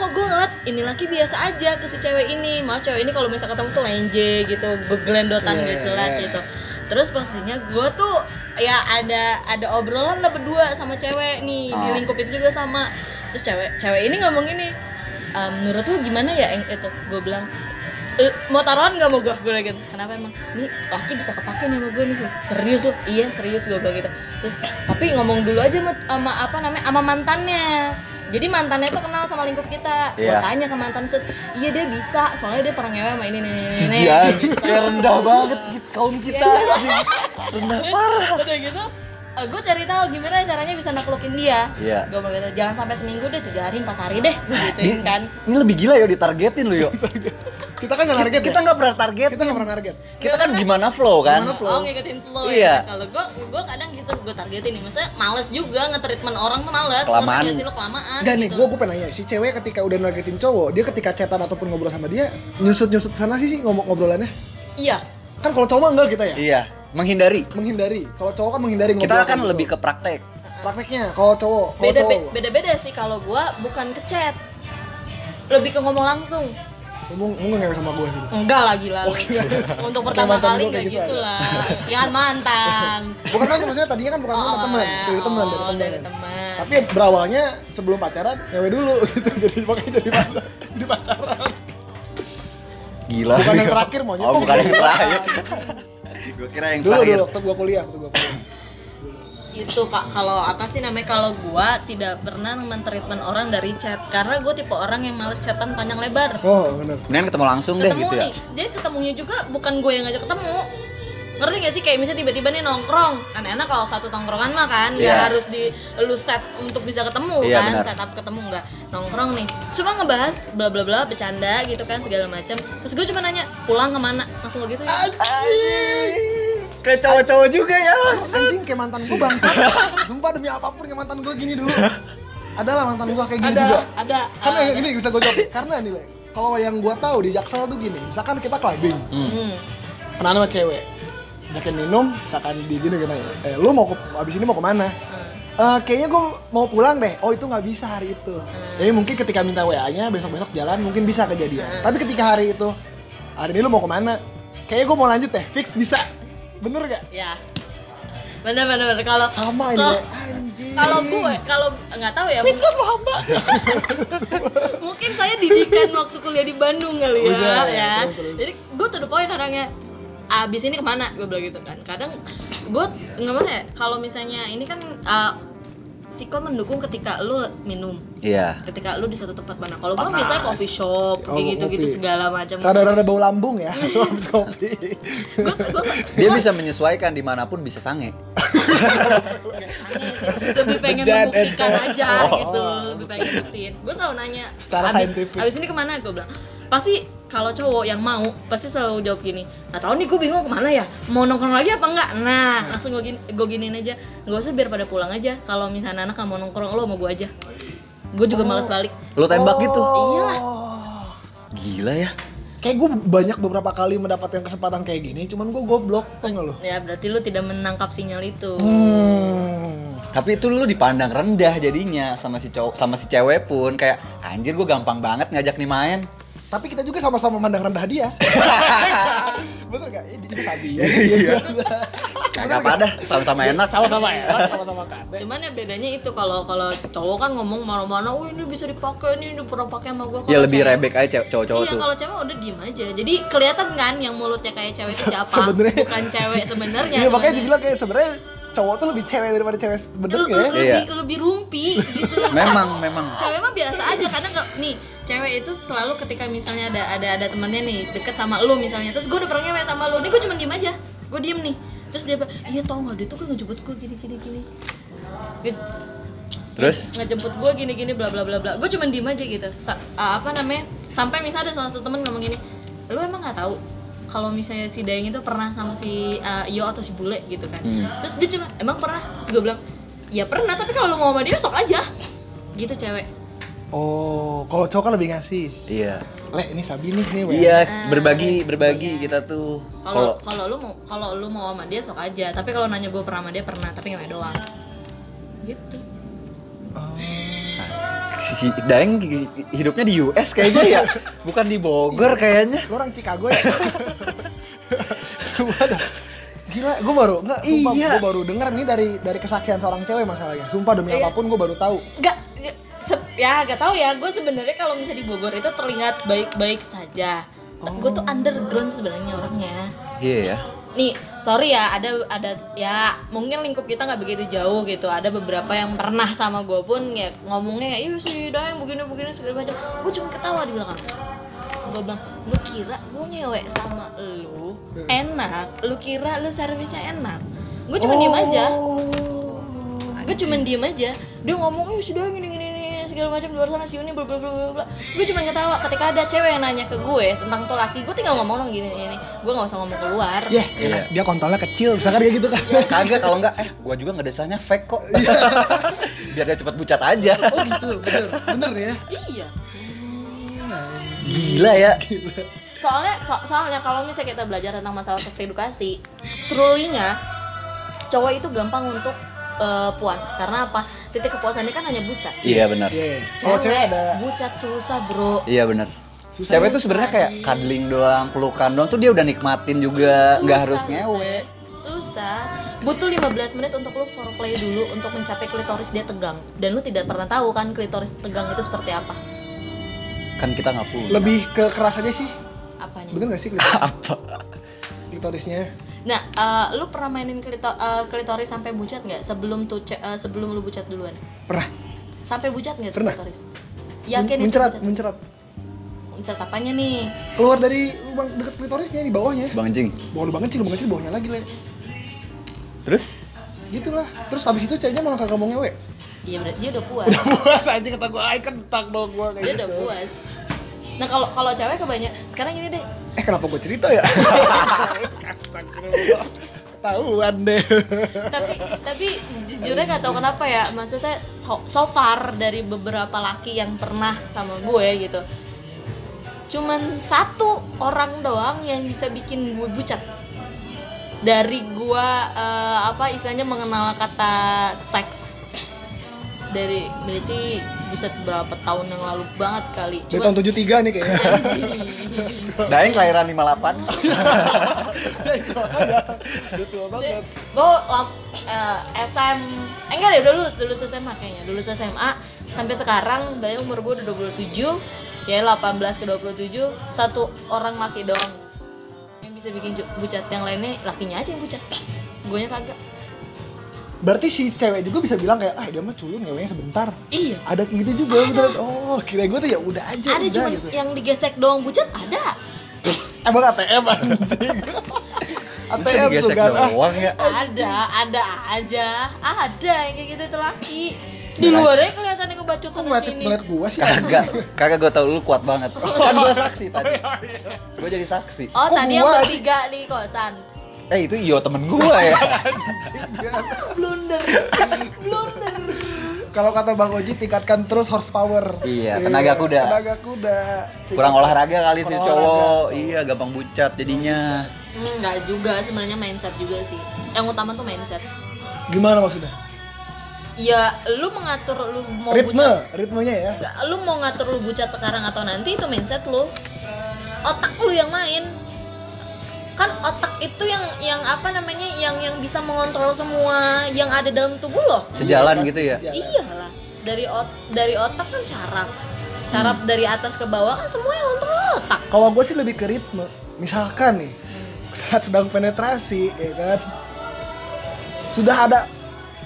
A: kok gue ngeliat ini laki biasa aja ke si cewek ini malah cewek ini kalau misalnya ketemu tuh lenje gitu beglendotan
B: Iya,
A: gak jelas
B: iya.
A: gitu terus pastinya gue tuh ya ada ada obrolan lah berdua sama cewek nih di
C: Oh.
A: lingkup itu juga sama terus cewek cewek ini ngomong gini "Eh, menurut lu gimana ya yang itu gue bilang "Eh, mau taruhan nggak mau gue gue lagi kenapa emang ini laki bisa kepake nih sama gue nih serius lo iya serius gue bilang gitu terus tapi ngomong dulu aja sama, sama apa namanya sama mantannya jadi mantannya tuh kenal sama lingkup kita Gua
C: Iya.
A: tanya ke mantan set iya dia bisa soalnya dia pernah ngewe sama ini nih nih, nih,
C: Jijian,
A: nih."
C: kayak rendah banget gitu kaum kita.
A: Iya.
C: anjing. rendah parah.
A: udah gitu gue cari tahu gimana caranya bisa naklukin dia
C: Iya.
A: gue bilang gitu jangan sampai seminggu deh tiga hari empat hari deh gue gituin
C: Di-
A: kan
C: Ini lebih gila ya ditargetin lu yuk.
B: Kita kan nggak
C: Kita
B: target.
C: kita
B: ya?
C: nggak pernah target.
B: kita nggak pernah target.
C: Kita kan gimana flow kan.
B: Gimana flow?
A: Oh ngikutin flow
C: Iya.
A: ya. Kalau gua gua kadang gitu gua targetin nih. Maksudnya males juga nge-treatment orang tuh males. Ngerti
C: Kelamaan.
A: nggak sih lu kelamaan.
B: Enggak nih,
A: gitu.
B: gue gue pengen nanya si cewek ketika udah nargetin cowok, dia ketika chatan ataupun ngobrol sama dia nyusut nyusut sana sih sih ngomong ngobrolannya.
A: Iya.
B: Kan kalau cowok mah enggak kita ya,
C: Iya, menghindari.
B: menghindari. Kalau cowok kan menghindari ngobrol.
C: Kita kan lebih ke praktek.
B: prakteknya. Kalau cowok, kalau
A: Beda
B: cowok
A: beda beda sih kalau gua bukan ke chat. Lebih ke ngomong langsung.
B: ngomong ngomong nggak ngewe sama gue gitu.
A: Enggak lah gila. lu. Untuk pertama
B: mantan gua
A: kali enggak
B: kayak gitu
A: gitu
B: aja.
A: lah. Jangan mantan.
B: Bukan kan maksudnya tadinya kan bukan sama teman,
A: ya.
B: dari teman, dari
A: Oh,
B: teman.
A: dari teman.
B: Tapi berawalnya sebelum pacaran ngewe dulu gitu, jadi makanya jadi pacar, jadi pacaran.
C: Gila.
B: Bukan yang terakhir maunya.
C: Oh, bukan yang terakhir. Gue kira yang
B: Dulu dulu
C: terakhir.
B: waktu gue kuliah, waktu gue kuliah.
A: itu Gitu, kak kalau apa sih namanya kalau gua tidak pernah mentreatment orang dari chat karena gue tipe orang yang males chatan panjang lebar
B: oh bener
C: Mendingan ketemu langsung deh
A: ketemu
C: gitu ya.
A: nih jadi ketemunya juga bukan gue yang ngajak ketemu ngerti gak sih kayak misalnya tiba-tiba nih nongkrong kan enak kalau satu tongkrongan mah kan nggak
C: Iya.
A: harus di lu set untuk bisa ketemu
C: Iya,
A: kan
C: benar.
A: setup ketemu nggak nongkrong nih cuma ngebahas bla bla bla bercanda gitu kan segala macam terus gue cuma nanya pulang kemana langsung gitu ya
C: Ke cowok-cowok juga ya.
B: anjing kayak mantan gue bangsa sumpah demi apapun kayak mantan gue gini dulu adalah mantan gue kayak gini
A: ada
B: juga Kan
A: ada eh,
B: karena ini bisa gue jawab karena nih Le, kalau yang gue tahu di Jaksel tuh gini misalkan kita clubbing
A: Hmm.
B: kenalan sama cewek Jakin minum, misalkan di gini gitu ya. Eh, lu mau ke, abis ini mau kemana?
A: Hmm.
B: Eh, kayaknya gue mau pulang deh. Oh itu nggak bisa hari itu. Jadi mungkin ketika minta WA-nya besok-besok jalan mungkin bisa kejadian.
A: Hmm.
B: Tapi ketika hari itu hari ini lu mau kemana? Kayaknya gue mau lanjut deh. Fix bisa. Bener gak?
A: ya bener bener bener. kalau
B: Sama ini.
A: kalau-
B: Le. Anjing.
A: kalau gue kalau nggak tahu ya
B: fix
A: mungkin,
B: kan lu hamba.
A: mungkin saya didikan waktu kuliah di Bandung kali ya,
B: Bisa,
A: ya.
B: ya, terus, terus.
A: jadi gue tuh the point orangnya abis ini kemana gue bilang gitu kan kadang gue nggak mana ya kalau misalnya ini kan eh, psiko mendukung ketika lu minum
C: Iya.
A: ketika lu di suatu tempat mana kalau gue
B: Panas.
A: biasanya coffee shop
B: Oh,
A: kayak gitu gitu
B: kopi.
A: segala macam
B: Rada-rada bau lambung ya. Lu habis kopi.
A: gue gue
C: Dia bisa menyesuaikan dimanapun bisa sange.
A: lebih pengen
B: Bejat,
A: membuktikan
B: eh.
A: aja
B: Oh.
A: gitu lebih pengen buktiin gue selalu nanya
B: Secara
A: abis,
B: saintifik.
A: abis ini kemana gue bilang pasti kalau cowok yang mau pasti selalu jawab gini nggak tahu nih gue bingung kemana ya mau nongkrong lagi apa enggak nah
B: Hmm.
A: langsung gue gini, gue giniin aja gue usah biar pada pulang aja kalau misalnya anak nggak mau nongkrong lo sama gue aja gue juga males
B: Oh.
A: balik
C: Lu tembak gitu.
B: Iyalah.
C: Gila ya.
B: Oh. Kayak gue banyak beberapa kali mendapatkan kesempatan kayak gini, cuman gue goblok, tau nggak lo?
A: ya berarti lu tidak menangkap sinyal itu
B: Hmm.
C: Tapi itu lu dipandang rendah jadinya sama si cowok sama si cewek pun kayak anjir gue gampang banget ngajak nih main.
B: Tapi kita juga sama-sama mandang rendah dia. Bener gak? Ini dia sabi ya.
C: Iya. Kagak apa dah, sama-sama enak.
B: Sama-sama ya, sama-sama kade.
A: cuman ya bedanya itu kalau kalau cowok kan ngomong mana-mana oh ini bisa dipakai ini udah pernah pakai sama gue
C: Ya lebih rebek aja cewek- cowok-cowok
A: iya
C: tuh.
A: kalau cewek udah diem aja jadi kelihatan kan yang mulutnya kayak cewek itu siapa
B: sebenarnya-
A: bukan cewek sebenarnya
B: Iya makanya
A: sebenarnya.
B: dibilang kayak sebenarnya cowok tuh lebih cewek daripada cewek
A: Lu-
B: sebenarnya.
A: lu-
B: ya.
A: lebih
C: Iya.
A: lebih rumpi gitu loh.
C: Memang, memang.
A: cewek mah biasa aja karena nggak nih cewek itu selalu ketika misalnya ada ada ada temannya nih deket sama lu misalnya terus gue udah pernah ngewe sama lu nih gue cuma diem aja gue diem nih terus dia bilang iya tau nggak dia tuh kan ngejemput gue gini gini gini Gitu.
C: Terus
A: ngejemput gue gini gini bla bla bla bla gue cuman diem aja gitu Sa- uh, apa namanya sampai misalnya ada salah satu temen ngomong gini lu emang nggak tahu kalau misalnya si Dayang itu pernah sama si uh, Yo atau si Bule gitu kan
C: Hmm.
A: terus dia cuma emang pernah terus gue bilang ya pernah tapi kalau lu mau sama dia sok aja gitu cewek
B: Oh, kalau cowok kan lebih ngasih.
C: iya.
B: Le, ini sabi nih nih. Weh.
C: Iya, berbagi, berbagi kita tuh.
A: kalau
C: Kalau
A: kalau lu mau kalau lu mau sama dia sok aja tapi kalau nanya gue pernah sama dia pernah tapi nggak doang gitu
B: Oh.
C: si si Daeng gi- hidupnya di US kayaknya ya, Iya. bukan di Bogor kayaknya.
B: Lu orang Chicago ya? Sumpah dah. Gila, gue baru enggak, sumpah
C: Iya.
B: gue baru denger nih dari dari kesaksian seorang cewek masalahnya. Sumpah demi
A: Iya.
B: apapun gue baru tahu.
A: Gak, gak- se- ya gak tahu ya. Gue sebenarnya kalau misalnya di Bogor itu terlihat baik-baik saja. Gue tuh underground sebenarnya orangnya.
C: Iya ya.
A: Nih, sorry ya, ada ada ya mungkin lingkup kita nggak begitu jauh gitu. Ada beberapa yang pernah sama gue pun ya ngomongnya kayak, iya sih, dah begini begini segala macam. Gue cuma ketawa di belakang. Gue bilang, lu kira gue ngewe sama lu enak? Lu kira lu servisnya enak? Gue cuma diem aja
B: Oh. Nah,
A: gue
B: gitu
A: cuman diem aja dia ngomong eh sudah gini gini gini, segala macam di luar sana si ini bla bla bla bla, bla gue cuma ketawa ketika ada cewek yang nanya ke gue tentang tuh laki gue tinggal ngomong dong gini gini gue nggak usah ngomong keluar
B: Yah,
A: Iya.
B: enak. Iya. dia kontolnya kecil, misalkan kayak gitu kan.
C: Kagak kalau enggak eh gua juga ngedesanya fake kok. Biar dia cepet bucat aja.
B: oh gitu, bener, bener ya.
A: iya
C: Gila ya.
A: soalnya so- soalnya kalau misalnya kita belajar tentang masalah seks edukasi truly-nya cowok itu gampang untuk eh, puas karena apa titik kepuasannya kan hanya bucat
C: Iya benar.
B: Iya. Kalau cewek ada
A: bucat susah bro
C: Iya benar.
B: Susah
C: Cewek tuh sebenarnya kayak cuddling doang, pelukan doang tuh dia udah nikmatin juga, nggak
A: Susah,
C: harus ngewe.
A: Teh. Susah. Butuh 15 menit untuk lu foreplay dulu untuk mencapai klitoris dia tegang. Dan lu tidak pernah tahu kan klitoris tegang itu seperti apa.
C: Kan kita nggak punya.
B: lebih ke keras aja sih.
A: Apanya?
B: Bener gak sih
C: Apa?
B: klitorisnya?
A: Nah, eh, lu pernah mainin klito- eh, klitoris sampai bucat nggak? Sebelum tuh ce- eh, sebelum lu bucat duluan.
B: Pernah.
A: Sampai bucat nggak tuh
B: Pernah.
A: klitoris? Yakin itu
B: mencerat,
A: bucat?
B: mencerat.
A: Mencerat apanya nih?
B: Keluar dari lubang dekat klitorisnya di bawahnya.
C: Bang Jing.
B: Bawah lubang kecil, lubang kecil bawahnya lagi, Le.
C: Terus?
B: Gitulah. Terus abis itu ceweknya malah kagak mau ngewe.
A: Iya, berarti dia udah puas.
B: Puas aja kata gue, ay kentak dong gue kayak
A: dia
B: gitu.
A: udah puas. Nah, kalau kalau cewek kebanyakan sekarang gini deh.
B: Eh kenapa gue cerita ya? Astagfirullah. Ketahuan deh.
A: tapi tapi jujurnya nggak tahu kenapa ya maksudnya so, so far dari beberapa laki yang pernah sama gue gitu cuman satu orang doang yang bisa bikin gue bucat dari gue eh, apa istilahnya mengenal kata seks dari berarti buset berapa tahun yang lalu banget kali
B: Dari tahun 73 nih kayaknya.
C: Daeng kelahiran 58. Iya,
B: Ya, itu makanya. Udah tua banget.
A: gue SM eh, enggak deh udah lulus dulu SMA kayaknya dulu SMA sampai sekarang bayang umur gue udah 27 ya 18 ke 27 satu orang laki doang yang bisa bikin ju- bucat yang lainnya lakinya aja yang bucat guanya kagak
B: Berarti si cewek juga bisa bilang kayak, ah dia mah culun ngewenya sebentar.
A: iya
B: Ada kayak gitu juga beneran. Oh, kira gue tuh ya udah aja,
A: ada
B: udah
A: cuman ya.
B: gitu.
A: yang digesek doang bucat ada
B: Emang ATM anjing.
C: Masa
B: ATM
C: digesek
B: sugan ah.
C: doang ya.
A: ada ada aja ada yang kayak gitu itu laki di luarnya kelihatannya kebacut
B: Kok
A: sana
B: ngeliat,
A: sini
B: ngeliat gue sih?
C: Kagak. Kagak gue tau lu kuat banget. Kan gue saksi tadi. Gue jadi saksi.
A: oh
B: Kok
A: tadi yang
B: gua?
A: bertiga di kosan
C: Eh itu iyo temen gue ya.
A: blunder blunder
B: Kalau kata Bang Oji tingkatkan terus horsepower.
C: Iya, tenaga kuda.
B: Tenaga kuda.
C: Kurang olahraga kali sih
B: Kurang
C: cowok.
B: olahraga.
C: Iya gampang bucat jadinya.
A: enggak Hmm, juga sebenarnya mindset juga sih yang utama tuh mindset
B: Gimana maksudnya?
A: ya lu mengatur lu mau
B: Ritme,
A: bucat
B: ritmenya ya.
A: enggak lu mau ngatur lu bucat sekarang atau nanti itu mindset lu otak lu yang main kan otak itu yang yang apa namanya yang yang bisa mengontrol semua yang ada dalam tubuh lo
C: Sejalan gitu ya.
B: Iya.
A: iyalah dari ot dari otak kan syaraf syaraf
B: Hmm.
A: dari atas ke bawah kan semua yang kontrol otak
B: Kalau gue sih lebih ke ritme. Misalkan nih, saat sedang penetrasi, ya kan, sudah ada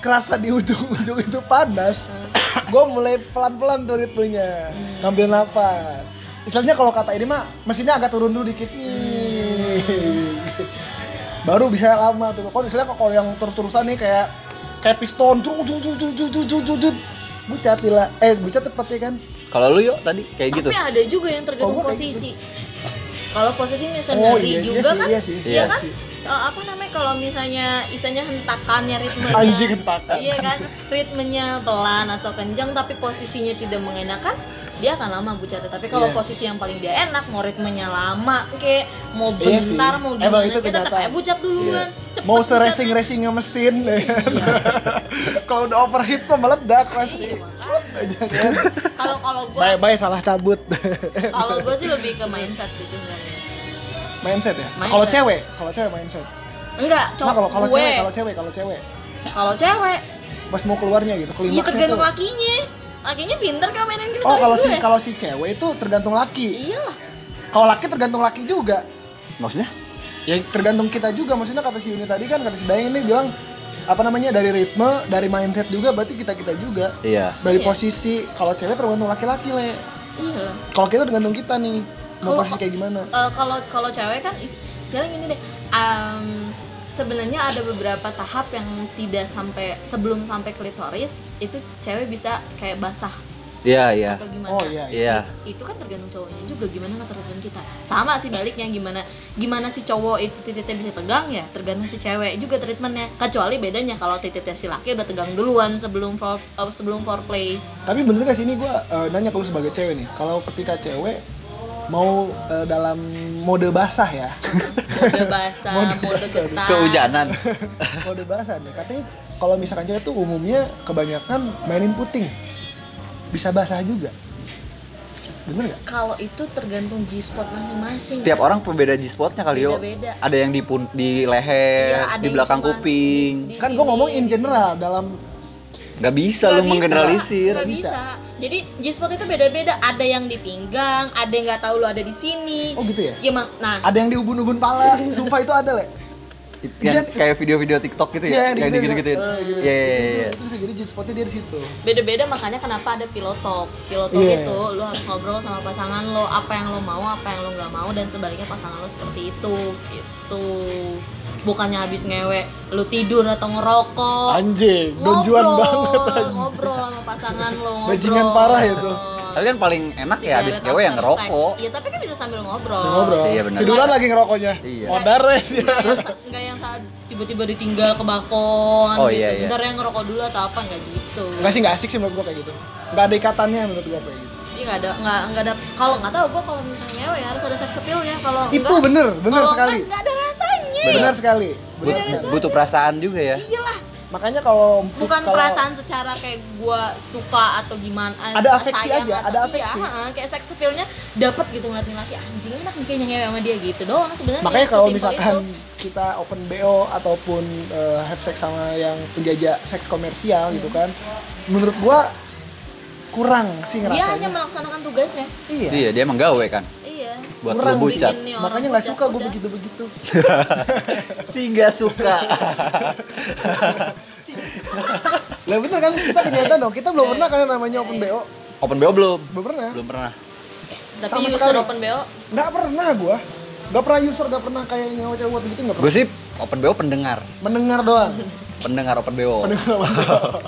B: kerasa di ujung-ujung itu panas, gue mulai pelan-pelan tuh ritmenya, ngambil nafas. Istilahnya kalau kata ini mah, mesinnya agak turun dulu dikit. Baru bisa lama tuh. Kalau misalnya kalau yang terus-terusan nih kayak kayak piston, tuh tuh tuh tuh tuh tuh tuh tuh bucat gila. eh bucat cepet ya kan
C: Kalau lu yuk tadi kayak gitu.
A: Tapi ada juga yang tergantung
B: Kalau Oh, gua kayak
A: posisi. Kalau posisi misalnya dari juga
B: sih,
A: kan,
B: iya sih
A: ya
C: Iya.
A: kan? Eh, apa namanya kalau misalnya isanya hentakannya ritmenya
B: anjing gentakan
A: iya kan ritmenya pelan atau kencang tapi posisinya tidak mengenakan dia akan lama bucatnya tapi kalau
B: Iya.
A: posisi yang paling dia enak mau ritmenya lama kayak mau
B: Iya sih.
A: bentar mau
B: Emang
A: gimana
B: itu
A: kita tetap
B: kenyataan.
A: aja bucat
C: Iya.
A: duluan Cepet
B: mau
A: bucatnya.
B: seracing racingnya mesin kalau udah overheat mah meledak pasti
A: Iya, makanya.
B: Slut aja kan
A: kalau kalau gue
B: bye bye salah cabut
A: kalau gue sih lebih ke mindset sih sebenarnya
B: mindset ya
A: Mindset.
B: kalau cewek kalau cewek mindset
A: enggak
B: nah
A: cowok
B: kalau kalau
A: gue
B: cewek kalau cewek kalau cewek
A: kalau cewek
B: pas mau keluarnya gitu
A: Iya
B: klimaksnya
A: tergantung
B: tuh
A: lakinya. Lakinya pinter kan mainin klitoris
B: oh kalau si
A: gue.
B: kalau si cewek itu tergantung laki
A: Iyalah.
B: kalau laki tergantung laki juga
C: Maksudnya?
B: ya tergantung kita juga maksudnya kata si Yuni tadi kan kata si Dayang ini bilang apa namanya dari ritme dari mindset juga berarti kita kita juga
C: Iya.
B: dari
A: Iya.
B: posisi kalau cewek tergantung laki-laki le
A: Iyalah.
B: kalau kita tergantung kita nih mau
A: Kalau-
B: posisi kayak gimana
A: Eh, Iya. kalau kalau cewek kan is- sekarang ini deh. em, sebenarnya ada beberapa tahap yang tidak sampai sebelum sampai klitoris itu cewek bisa kayak basah
C: Iya iya.
A: atau gimana.
B: oh iya iya.
C: Iya.
A: itu kan tergantung cowoknya juga gimana ketergantungan kita sama sih baliknya gimana gimana si cowok itu titiknya bisa tegang ya tergantung si cewek juga treatmentnya kecuali bedanya kalau titiknya si laki udah tegang duluan sebelum for, eh, sebelum foreplay
B: tapi bener gak sih ini gue nanya ke lu sebagai cewek nih kalau ketika cewek mau eh, dalam mode basah ya
A: mode basah, mode, getar.
C: Kehujanan.
B: mode basah nih katanya kalau misalkan cewek tuh umumnya kebanyakan mainin puting bisa basah juga bener gak?
A: Kalau itu tergantung G-spot masing-masing.
C: Tiap orang pembeda G-spotnya kali yo.
A: Beda-beda.
C: Ada yang di pun- di
A: Iya,
C: leher,
A: ada
C: ya, di
A: yang
C: belakang
A: cuman
C: kuping.
A: di-
B: kan gue ngomong in general dalam
C: Gak bisa
A: Nggak
C: lu menggeneralisir.
A: nggak bisa. Jadi G-spot itu beda-beda. Ada yang di pinggang, ada yang nggak tahu lu ada di sini.
B: oh gitu ya
A: Ya, Mang. Nah,
B: ada yang di ubun-ubun pala sumpah itu ada le
C: Yang kayak video-video TikTok gitu ya,
B: Iya,
C: yang
B: gitu,
C: gitu-gitu.
B: eh, gitu.
C: Iya, iya, iya, iya.
B: Itu bisa jadi hit spotnya dia di situ.
A: beda-beda makanya kenapa ada pilotok pilotok
B: Iya.
A: itu lo harus ngobrol sama pasangan lo apa yang lo mau apa yang lo nggak mau dan sebaliknya pasangan lo seperti itu gitu bukannya habis ngewe lo tidur atau ngerokok
B: Anjing, donjuan banget anjing.
A: ngobrol sama pasangan lo ngobrol
B: Bajingan parah ya tuh.
C: Tapi kan paling enak ya habis ngewe yang ngerokok.
A: Iya tapi kan bisa sambil ngobrol.
B: Ngobrol.
C: Iya, benar.
B: Tiduran lagi ngerokoknya.
C: Iya.
B: Modar ya.
A: Terus nggak yang saat tiba-tiba ditinggal ke balkon.
C: Oh,
A: gitu.
C: iya, iya.
A: Bentar yang ngerokok dulu atau apa nggak gitu.
B: Enggak sih enggak asik sih menurut gua kayak gitu. Enggak ada ikatannya menurut gua kayak gitu.
A: Iya nggak ada nggak nggak ada kalau nggak tahu gue kalau minta ngewe harus ada sex appeal ya kalau
B: Itu
A: nggak-
B: bener, bener
A: kalau
B: sekali.
A: nggak- nggak ada rasanya.
C: Bener.
B: Bener sekali. Bener
C: But-
B: sekali.
C: butuh perasaan juga ya.
A: Iyalah,
B: Makanya kalau
A: bukan
B: kalau-
A: perasaan secara kayak gua suka atau gimana eh,
B: Ada
A: suka
B: afeksi
A: sayang
B: aja,
A: atau-
B: ada
A: iya,
B: afeksi.
A: heeh, kayak sex appeal-nya dapat gitu ngeliat nih laki anjing enak nih kayaknya ngewe sama dia gitu doang sebenarnya
B: Makanya kalau
A: sesimpel
B: misalkan
A: itu.
B: kita open BO ataupun eh, have sex sama yang penjajah seks komersial
A: Iya.
B: gitu kan. Menurut gua kurang sih
A: dia hanya
B: ngerasanya.
A: melaksanakan tugasnya
B: Iya.
C: Iya, dia emang gawe kan
A: iya
C: buat
B: Kurang
C: lo bucat.
A: bikin nih orang
B: Makanya nggak
A: bucat,
B: suka gue
A: udah.
B: begitu-begitu.
C: Sehingga suka.
B: Lah bener kan kita kenyataan dong. Kita
A: Iya.
B: belum pernah kan yang namanya open BO.
C: Open BO belum?
B: Belum pernah.
C: Belum pernah.
A: tapi
B: Sama
A: user
B: sekali.
A: open bo
B: Nggak pernah gua. Nggak pernah user, nggak pernah kayak nyawa cewek gitu nggak
C: Gue
B: pernah.
C: sih open BO pendengar.
B: Mendengar doang.
C: Pendengar open BO.
B: Pendengar doang.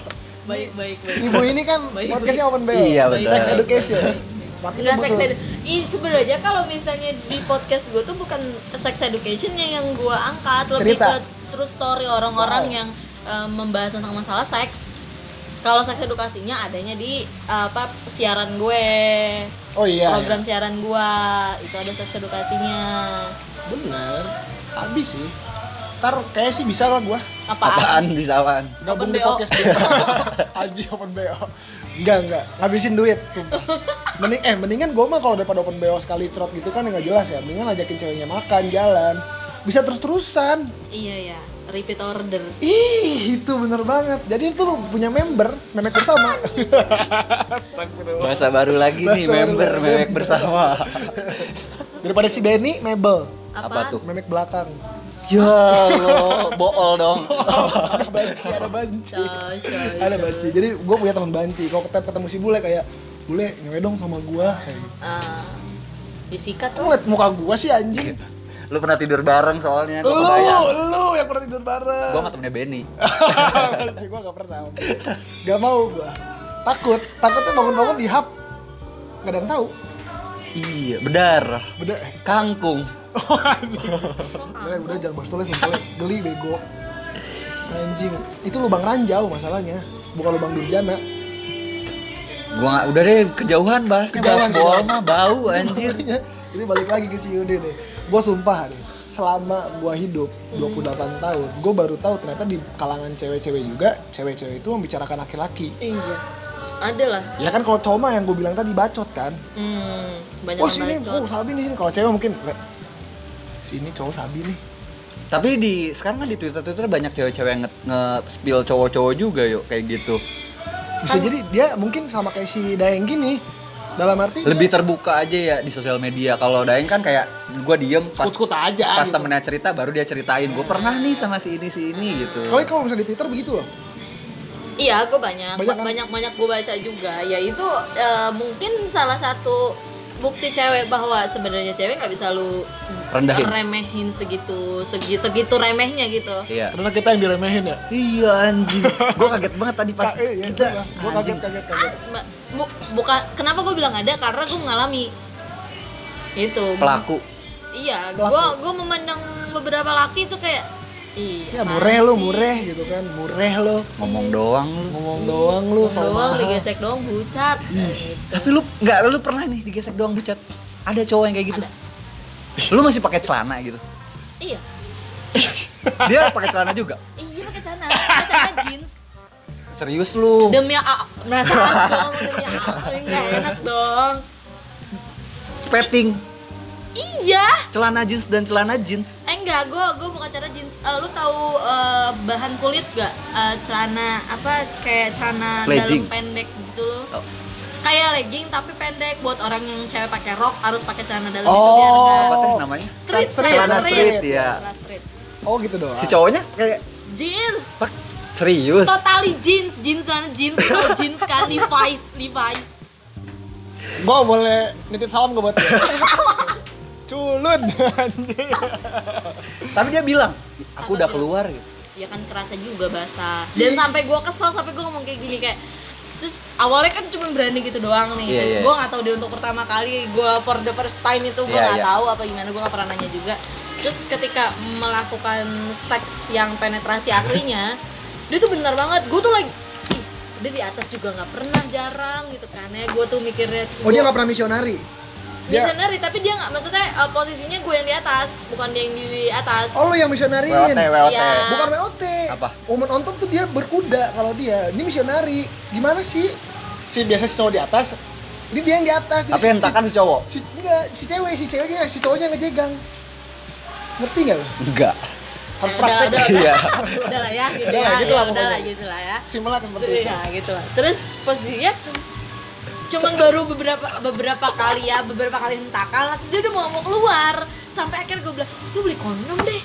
A: baik baik baik
B: Ibu ini kan
A: Baik.
B: podcastnya open BO.
C: Iya,
A: betul.
B: Sex education. Makanya
A: Enggak sex
B: butuh-
A: edu- Ih, sebenarnya kalau misalnya di podcast gue tuh bukan sex education-nya yang gue angkat, lebih
B: Cerita.
A: ke true story orang-orang
B: Wow.
A: yang eh, membahas tentang masalah seks. Kalau seks edukasinya adanya di eh, apa siaran gue,
B: Oh iya.
A: program siaran gue itu ada seks edukasinya.
B: Bener. Sabi sih. Ntar kayaknya sih bisa lah gua.
A: Apaan?
C: Apaan bisa apaan?
B: Gabung
A: Open
B: di
A: BO.
B: podcast BO. Aji open BO. Enggak, enggak. Habisin duit. Mending eh mendingan gua mah kalau daripada open BO sekali cerot gitu kan nggak jelas ya. Mendingan ajakin ceweknya makan, jalan. Bisa terus-terusan.
A: Iya ya, repeat order.
B: Ih, itu bener banget. Jadi itu lu punya member, memek bersama.
C: Bahasa baru lagi nih,
B: Bahasa baru
C: member
B: lagi.
C: memek bersama.
B: Daripada si Benny, mebel.
C: Apa
A: Apaan?
C: tuh?
B: Memek belakang.
C: Ya Allah, bool dong.
B: Ada banci, ada banci.
A: Coy, coy,
B: Ada
A: coy.
B: banci. Jadi gue punya teman banci. Kalau ketemu, ketemu si bule kayak, bule nyewe dong sama gua. Kayak gitu.
A: Ah, disikat
B: Kok
A: tuh.
B: ngeliat muka gua sih anjing?
C: Lu pernah tidur bareng soalnya,
B: Lu,
C: gua kebayang.
B: lu yang pernah tidur bareng.
C: Gua sama temennya Benny.
B: Anjing, gua gak pernah. Gak mau gua. Takut, takutnya bangun-bangun di hap. Gak ada yang tahu.
C: Iya, bedar.
B: Beda.
C: Kangkung.
B: Oh, anjing.
A: Kok
B: Udah, udah jangan bahas tulis, tulis. geli bego. Anjing, itu lubang ranjau masalahnya, bukan lubang durjana.
C: Gua nggak- udah deh kejauhan bahasnya bahas
B: Kejauhan,
C: bool
B: kejauhan.
C: mah bau
A: Iya.
C: anjir.
B: Makanya, Ini balik lagi ke si Yude nih. Gue sumpah nih, selama gue hidup 28
A: Hmm.
B: tahun, gue baru tahu ternyata di kalangan cewek-cewek juga, cewek-cewek itu membicarakan laki-laki.
A: Iya. Ada lah.
B: Ya kan kalau cowok mah yang gue bilang tadi bacot kan.
A: Hmm, banyak
B: Oh
A: yang
B: sini,
A: bacot.
B: oh sabi nih sini. Kalau cewek mungkin, "Le, sini cowok sabi nih.
C: Tapi di sekarang kan di Twitter Twitter banyak cewek-cewek yang nge- nge-spill cowok-cowok juga yuk kayak gitu.
B: Bisa
A: Kan
B: jadi dia mungkin sama kayak si Daeng gini, dalam arti dia
C: Lebih terbuka aja ya di sosial media. Kalau Daeng kan kayak gua diem pas
B: skut-skut aja.
C: pas
B: gitu.
C: temennya cerita baru dia ceritain gue pernah nih sama si ini si ini gitu.
B: Kalau kalau misalnya di Twitter begitu loh.
A: Iya, gue banyak,
B: Banyak
A: banyak
B: kan?
A: banyak, gue baca juga. Yaitu eh, mungkin salah satu bukti cewek bahwa sebenarnya cewek nggak bisa lu
C: Rendahin.
A: remehin segitu segi, segitu remehnya gitu.
C: Iya.
B: Karena kita yang diremehin ya.
C: Iya anjing. gue kaget banget tadi pas
B: Ka-
A: iya,
B: eh, ya,
C: kita
B: gue kaget
C: anjing.
B: kaget kaget.
A: Ma- bu- buka- kenapa gue bilang ada? Karena gue mengalami itu.
C: pelaku.
A: Iya,
B: Pelaku.
A: gue gue memandang beberapa laki tuh kayak iya.
B: Ya mureh lu, mureh gitu kan, mureh lu,
C: Ngomong doang lu.
B: ngomong doang lu
A: Doang
B: sama.
A: digesek doang bucat.
C: Tapi lu nggak lu pernah nih digesek doang bucat. Ada cowok yang kayak gitu. Lu masih pakai celana gitu.
A: Iya.
C: Dia pakai celana juga.
A: Iya pakai celana, pakai celana jeans.
C: Serius lu.
A: demi A- merasa harus gua ngomong demi aku nggak enak dong
C: Petting
A: iya
C: celana jeans dan celana jeans.
A: eh enggak gue gue bukan cara jeans Eh, lu tahu eh, bahan kulit gak Eh, celana apa kayak celana
C: Legging.
A: dalam pendek gitu loh
C: Oh.
A: kayak legging tapi pendek buat orang yang cewek pakai rok harus pakai celana dalam itu biar
B: Oh,
A: enggak
C: Apa teh namanya?
A: street
B: Celana
A: celana
C: street, ya.
A: Celana street.
B: oh gitu doang
C: si cowoknya kayak
A: jeans
C: "Pak, serius
A: totally jeans jeans dan jeans itu jeans kan Levi's Levi's
B: gue boleh nitip salam gue buat dia culun anjing
C: tapi dia bilang aku
A: Apa
C: udah
A: dia?
C: keluar gitu
A: ya kan kerasa juga basah dan sampai gua kesel sampai gua ngomong kayak gini kayak terus awalnya kan cuma berani gitu doang nih
C: Iya, iya.
A: gue nggak tahu dia untuk pertama kali gua for the first time itu gua
C: Iya,
A: nggak
C: iya.
A: tahu apa gimana gua nggak pernah nanya juga terus ketika melakukan seks yang penetrasi aslinya dia tuh benar banget gue tuh lagi "Ih, dia di atas juga nggak pernah jarang gitu kan ya gue tuh mikirnya terus
B: oh dia
A: gua-
B: nggak pernah misionari dia-
A: Missionary, tapi dia nggak maksudnya uh, posisinya gue yang di atas, bukan dia yang di atas.
B: oh lo yang misionariin
C: WOT WOT
A: Iya.
B: bukan WOT
C: Apa?
B: woman on top tuh dia berkuda kalau dia ini misionari gimana sih si biasa si cowok di atas ini dia yang di atas jadi
C: tapi
B: si-
C: hentakan si cowok
B: si, enggak si cewek si ceweknya si cowoknya ngejegang ngerti nggak lo
C: enggak
B: harus
A: Ya,
B: praktek
A: udah, udah,
C: iya
A: udah lah ya, gitu
B: Udah
A: ya,
B: lah, gitu
A: ya,
B: lah
A: udah lah
B: pokoknya.
A: gitu lah ya.
B: Simulak seperti itu
A: Iya, gitu lah. Terus posisinya cuman baru beberapa beberapa kali ya, beberapa kali hentakan, lah. terus dia udah mau mau keluar. Sampai akhirnya gue bilang, lu beli kondom deh.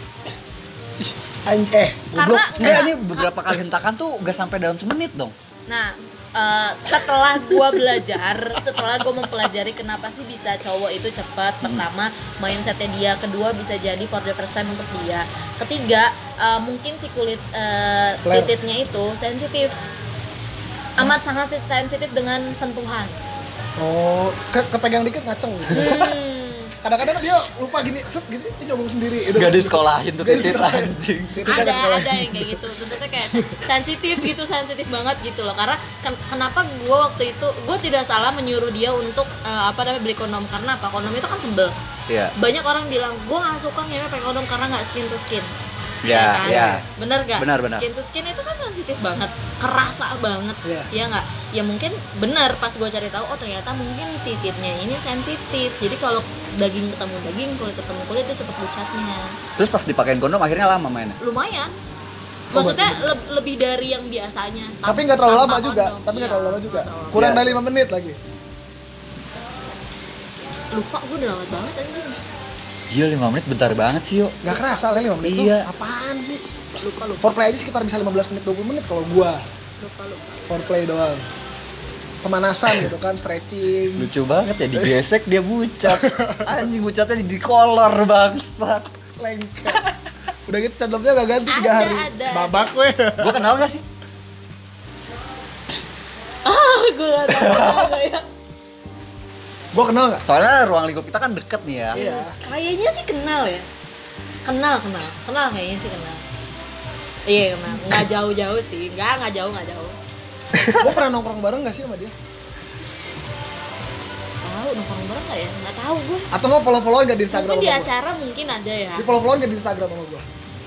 B: Anj- eh goblok
A: Karena-
C: enggak
A: Enggak.
C: ini beberapa kali hentakan tuh gak sampai dalam semenit dong
A: Nah, eh, setelah gua belajar, setelah gua mempelajari kenapa sih bisa cowok itu cepat, pertama mindsetnya dia, kedua bisa jadi for the first time untuk dia, ketiga eh, mungkin si kulit eh,
B: Ler.
A: titiknya itu sensitif, amat sangat sensitif dengan sentuhan.
B: oh ke- kepegang dikit ngaceng gitu
A: Hmm.
B: kadang-kadang dia lupa gini set gini dia nyobong sendiri itu kan.
C: gak disekolahin tuh
B: Nggak
C: titit
B: disekolahin.
C: gitu, anjing
B: Titiknya
A: ada
B: kepegang.
A: ada yang kayak gitu maksudnya kayak sensitif gitu sensitif banget gitu loh karena ken- kenapa gue waktu itu gue tidak salah menyuruh dia untuk eh, apa namanya beli kondom karena apa kondom itu kan tebel
C: iya
A: banyak orang bilang gue nggak suka ngewe pakai kondom karena nggak skin to skin
C: iya
A: kan?
C: iya
A: bener gak?
C: Benar, benar.
A: skin to skin itu kan sensitif banget kerasa banget
B: Iya.
A: ya nggak ya mungkin benar pas gue cari tahu oh ternyata mungkin titiknya ini sensitif jadi kalau daging ketemu daging kulit ketemu kulit itu cepet pucatnya
C: terus pas dipakein kondom akhirnya lama mainnya
A: lumayan
B: Oh,
A: maksudnya le- lebih dari yang biasanya
B: tapi nggak terlalu
A: Tanpa
B: lama juga
A: kondom.
B: tapi nggak
A: Iya,
B: terlalu lama juga
A: nggak terlalu
B: kurang
C: Iya.
B: dari lima menit lagi
A: lama. lupa gue udah lewat banget anjing
C: gila 5 menit bentar banget sih yuk
B: nggak kerasa lah lima menit tuh
C: Iya.
B: apaan sih
A: lupa lupa
B: foreplay aja sekitar bisa 15 menit 20 menit kalau gua
A: lupa lupa
B: foreplay doang pemanasan gitu kan stretching
C: lucu banget ya digesek dia bucat anjing bucatnya di, di kolor bangsat
B: lengket udah gitu cadlopnya gak ganti tiga
A: Ada,
B: hari
A: ada.
B: babak weh
C: gua kenal gak sih
A: ah gue gak tahu apa ya
B: gua kenal nggak
C: soalnya ruang lingkup kita kan deket nih ya
B: Iya.
A: kayaknya sih kenal ya kenal kenal kenal kayaknya sih kenal iya kenal nggak jauh jauh sih nggak nggak jauh nggak jauh
B: Iya. gua pernah nongkrong bareng gak sih sama dia
A: tahu nongkrong bareng nggak ya nggak tahu gue
B: atau nggak follow followan gak di instagram
A: mungkin di
B: sama gua?
A: acara mungkin ada ya
B: di follow followan gak di instagram sama gua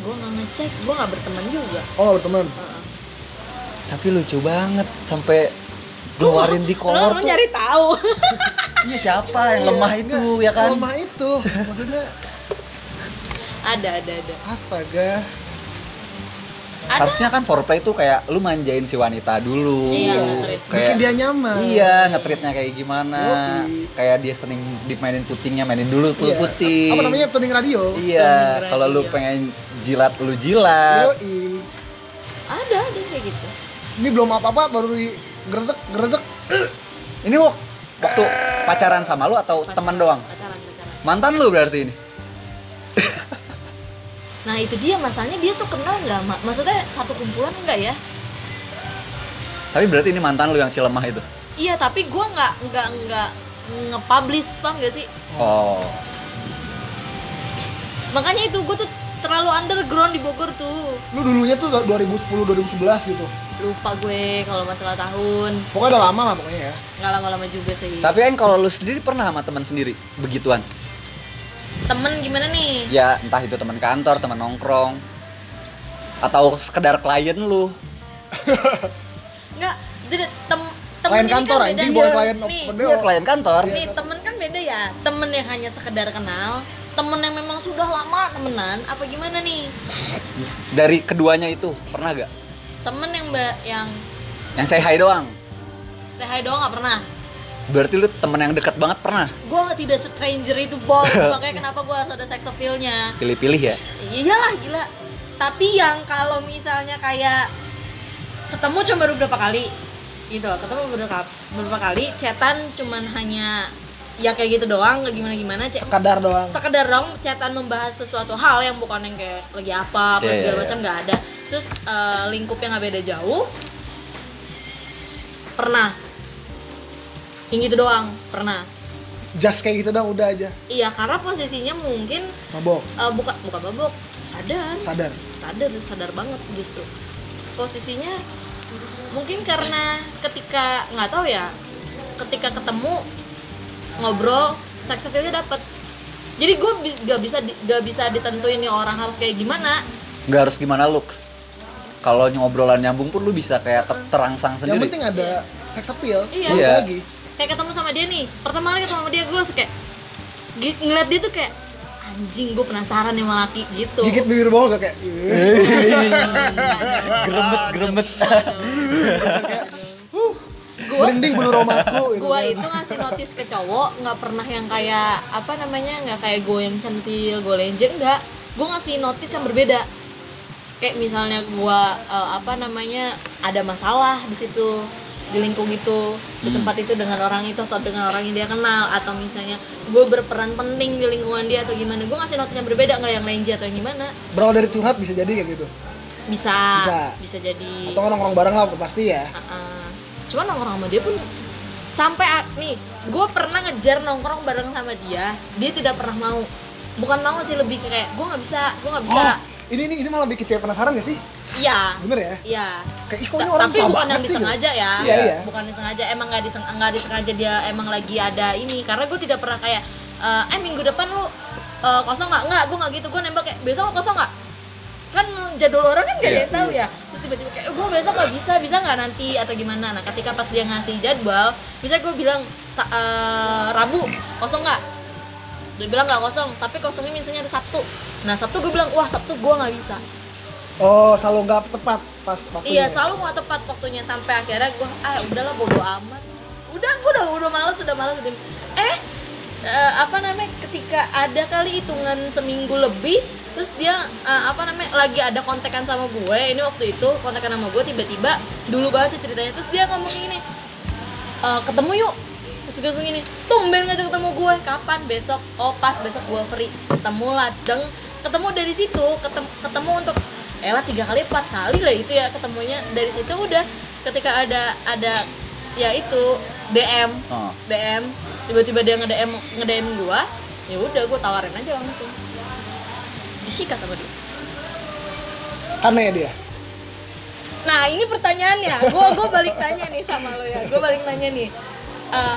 A: gue nggak ngecek gue nggak berteman juga
B: oh nggak berteman
A: Heeh.
C: tapi lucu banget sampai ngeluarin di kolor
A: Lu- lu
C: tuh
A: nyari tahu
C: iya siapa yang lemah itu ya kan
B: lemah itu maksudnya
A: ada ada ada
B: astaga
A: ada
C: harusnya kan foreplay tuh kayak lu manjain si wanita dulu
A: Iya, ngetrit.
B: bikin
C: kayak
B: dia nyaman
C: iya ngetritnya kayak gimana
B: Yoi.
C: kayak dia sering dimainin putingnya mainin dulu tuh
B: Iya.
C: puting
B: apa namanya tuning radio
C: iya
A: Tuning
C: kalau lu
A: radio.
C: pengen jilat lu jilat
B: Yoi.
A: ada ada kayak gitu
B: ini belum apa-apa baru di gresek gresek
C: ini wak- waktu pacaran sama lu atau teman doang
A: pacaran pacaran
C: mantan lu berarti ini
A: nah itu dia masalahnya dia tuh kenal nggak Ma- maksudnya satu kumpulan nggak ya
C: tapi berarti ini mantan lu yang si lemah itu
A: iya tapi gua nggak nggak nggak nge-publish paham gak sih
C: oh
A: makanya itu gua tuh terlalu underground di Bogor tuh
B: lu dulunya tuh 2010 2011 gitu
A: lupa gue kalau masalah tahun
B: pokoknya udah lama lah pokoknya ya
A: nggak lama-lama juga sih
C: tapi kan kalau lu sendiri pernah sama teman sendiri begituan
A: temen gimana nih
C: ya entah itu teman kantor teman nongkrong atau sekedar klien lu
A: nggak jadi tem temen
B: klien
A: ini kan
B: kantor
A: beda
B: anjing
A: ya.
B: bukan klien
A: Nih,
B: open
C: Iya, klien kantor
A: Nih temen kan beda ya, temen yang hanya sekedar kenal, temen yang memang sudah lama temenan, apa gimana nih?
C: dari keduanya itu pernah gak
A: Temen yang ba- yang
C: yang saya hai doang
A: say hi doang nggak pernah.
C: berarti lu temen yang dekat banget pernah
A: Gua tidak stranger itu bos, makanya kenapa gua harus ada sex appeal-nya.
C: pilih-pilih ya
A: Iyalah gila, tapi yang kalau misalnya kayak ketemu cuma baru beberapa kali gitu loh ketemu beberapa beberapa kali cetan cuman hanya ya kayak gitu doang nggak gimana gimana cek
B: sekadar doang
A: sekedar dong cetan membahas sesuatu hal yang bukan yang kayak lagi apa apa
C: Iya,
A: segala
C: iya,
A: macam nggak ada terus eh, lingkupnya nggak beda jauh pernah yang gitu doang pernah
B: just kayak gitu doang udah aja
A: iya karena posisinya mungkin
B: mabok
A: eh, bukan bukan mabok sadar
B: sadar
A: sadar sadar banget justru posisinya mungkin karena ketika nggak tahu ya ketika ketemu ngobrol sex appeal-nya dapet jadi gue gak bisa di- nggak bisa ditentuin nih orang harus kayak gimana
C: nggak harus gimana looks kalau ngobrolan nyambung pun lu bisa kayak ke- terangsang
B: yang
C: sendiri
B: penting ada sex appeal
A: Iya.
B: balik
C: Iya.
B: lagi
A: kayak ketemu sama dia nih pertama kali ketemu sama dia gue langsung kayak gi- ngeliat dia tuh kayak anjing gue penasaran nih sama laki gitu
B: gigit bibir bawah gak kayak "Eh, "Ih."
C: gremet gremet
A: gue
B: merinding bulu romaku gitu
A: gua
B: kan.
A: itu ngasih notis ke cowok nggak pernah yang kayak apa namanya nggak kayak gue yang centil gue lenje enggak gue ngasih notis yang berbeda kayak misalnya gua eh, apa namanya ada masalah di situ di lingkung itu di
B: Hmm.
A: tempat itu dengan orang itu atau dengan orang yang dia kenal atau misalnya gue berperan penting di lingkungan dia atau gimana gue ngasih notis yang berbeda nggak yang lenje atau yang gimana
B: berawal dari curhat bisa jadi kayak gitu
A: bisa
B: Bisa.
A: bisa jadi
B: atau nongkrong bareng lah pasti ya
A: Heeh. Cuman nongkrong sama dia pun sampai a- nih, gue pernah ngejar nongkrong bareng sama dia, dia tidak pernah mau. Bukan mau sih lebih ke kayak gue nggak bisa, gue nggak bisa.
B: oh ini ini ini malah bikin cewek penasaran gak sih
A: Iya,
B: bener ya
A: iya.
B: kayak ih kok ini
A: Ta-
B: orang
A: Tapi
B: susah
A: bukan
B: banget
A: yang
B: sih gitu.
A: disengaja ya,
B: Iya, iya.
A: bukan disengaja. Emang nggak diseng nggak disengaja dia emang lagi ada ini. Karena gue tidak pernah kayak, eh eh, minggu depan lu eh, kosong nggak? Nggak, gue nggak gitu. Gue nembak kayak besok lu kosong nggak? kan jadwal orang kan gak ada
C: Iya.
A: yang tahu ya terus tiba-tiba kayak gue besok gak bisa bisa nggak nanti atau gimana nah ketika pas dia ngasih jadwal bisa gue bilang "Sa- eh, rabu kosong nggak dia bilang nggak kosong tapi kosongnya misalnya ada sabtu nah sabtu gue bilang wah sabtu gue nggak bisa
B: oh selalu nggak tepat pas waktu
A: iya selalu mau tepat waktunya sampai akhirnya gue ah udahlah bodo amat udah gue udah udah males udah males udah eh eh, apa namanya ketika ada kali hitungan seminggu lebih terus dia eh, apa namanya lagi ada kontekan sama gue ini waktu itu kontekan sama gue tiba-tiba dulu banget sih ceritanya terus dia ngomong gini "Eh, ketemu yuk terus gue langsung gini tumben ngajak ketemu gue kapan besok oh pas besok gue free ketemu lah deng ketemu dari situ ketemu, ketemu untuk elah tiga kali empat kali lah itu ya ketemunya dari situ udah ketika ada ada ya itu DM
C: Oh.
A: DM tiba-tiba dia nge DM nge DM gue ya udah gue tawarin aja langsung disikat sama dia
B: karena ya dia
A: Nah ini pertanyaannya, gue gue balik tanya nih sama lo ya, gue balik nanya nih. Eh,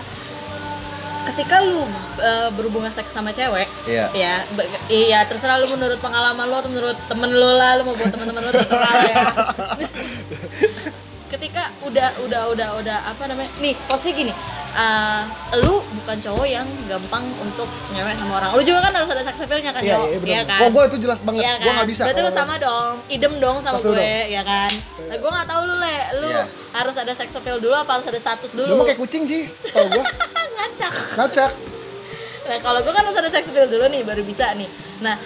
A: ketika lu eh, berhubungan seks sama cewek,
C: Iya.
A: ya, be- iya terserah lu menurut pengalaman lo atau menurut temen lo lah, lu mau buat teman-teman lo terserah lah ya. ketika udah udah udah udah apa namanya, nih posisi gini, eh, lu bukan cowok yang gampang untuk ngewek sama orang. Lu juga kan harus ada sex appeal-nya kan,
B: iya
A: Jo?
B: iya benar
A: kan?
B: kok gue itu jelas banget
A: Iya
B: gue nggak bisa
A: Berarti lu
B: kalau-
A: sama dong, idem dong sama
B: Pasti
A: gue,
B: dong.
A: ya kan? Nah, gue gak tahu lu le, lu
C: Iya.
A: harus ada sex appeal dulu apa harus ada status
B: Gue
A: dulu?
B: mah kayak kucing sih, tau gue
A: Ngacak.
B: Ngacak
A: Nah, kalau gue kan harus ada sex appeal dulu nih baru bisa nih. Nah,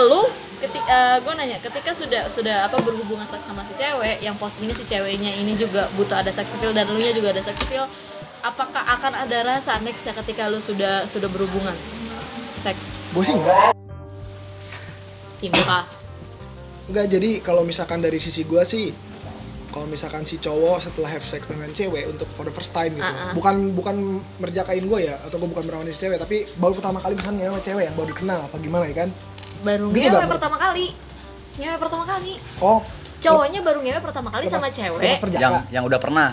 A: lu ketika gue nanya ketika sudah sudah apa berhubungan seks sama si cewek yang posisinya si ceweknya ini juga butuh ada sex appeal dan lu nya juga ada sex appeal apakah akan ada rasa next ya ketika lu sudah sudah berhubungan seks
B: Gue sih enggak
A: timbul kah?
B: Gitu Enggak, jadi kalau misalkan dari sisi gue sih kalau misalkan si cowok setelah have sex dengan cewek untuk for the first time gitu
A: Ah, ah.
B: bukan bukan merjakain gue ya atau gue bukan merawan diri cewek tapi baru pertama kali misalnya sama cewek yang baru dikenal apa gimana ya kan
A: baru
B: Gitu
A: ngewe
B: nggak?
A: pertama kali ngewe pertama kali
B: oh
A: cowoknya baru ngewe pertama kali
B: lepas-
A: sama
B: lepas
A: cewek
B: perjaka
C: yang yang udah pernah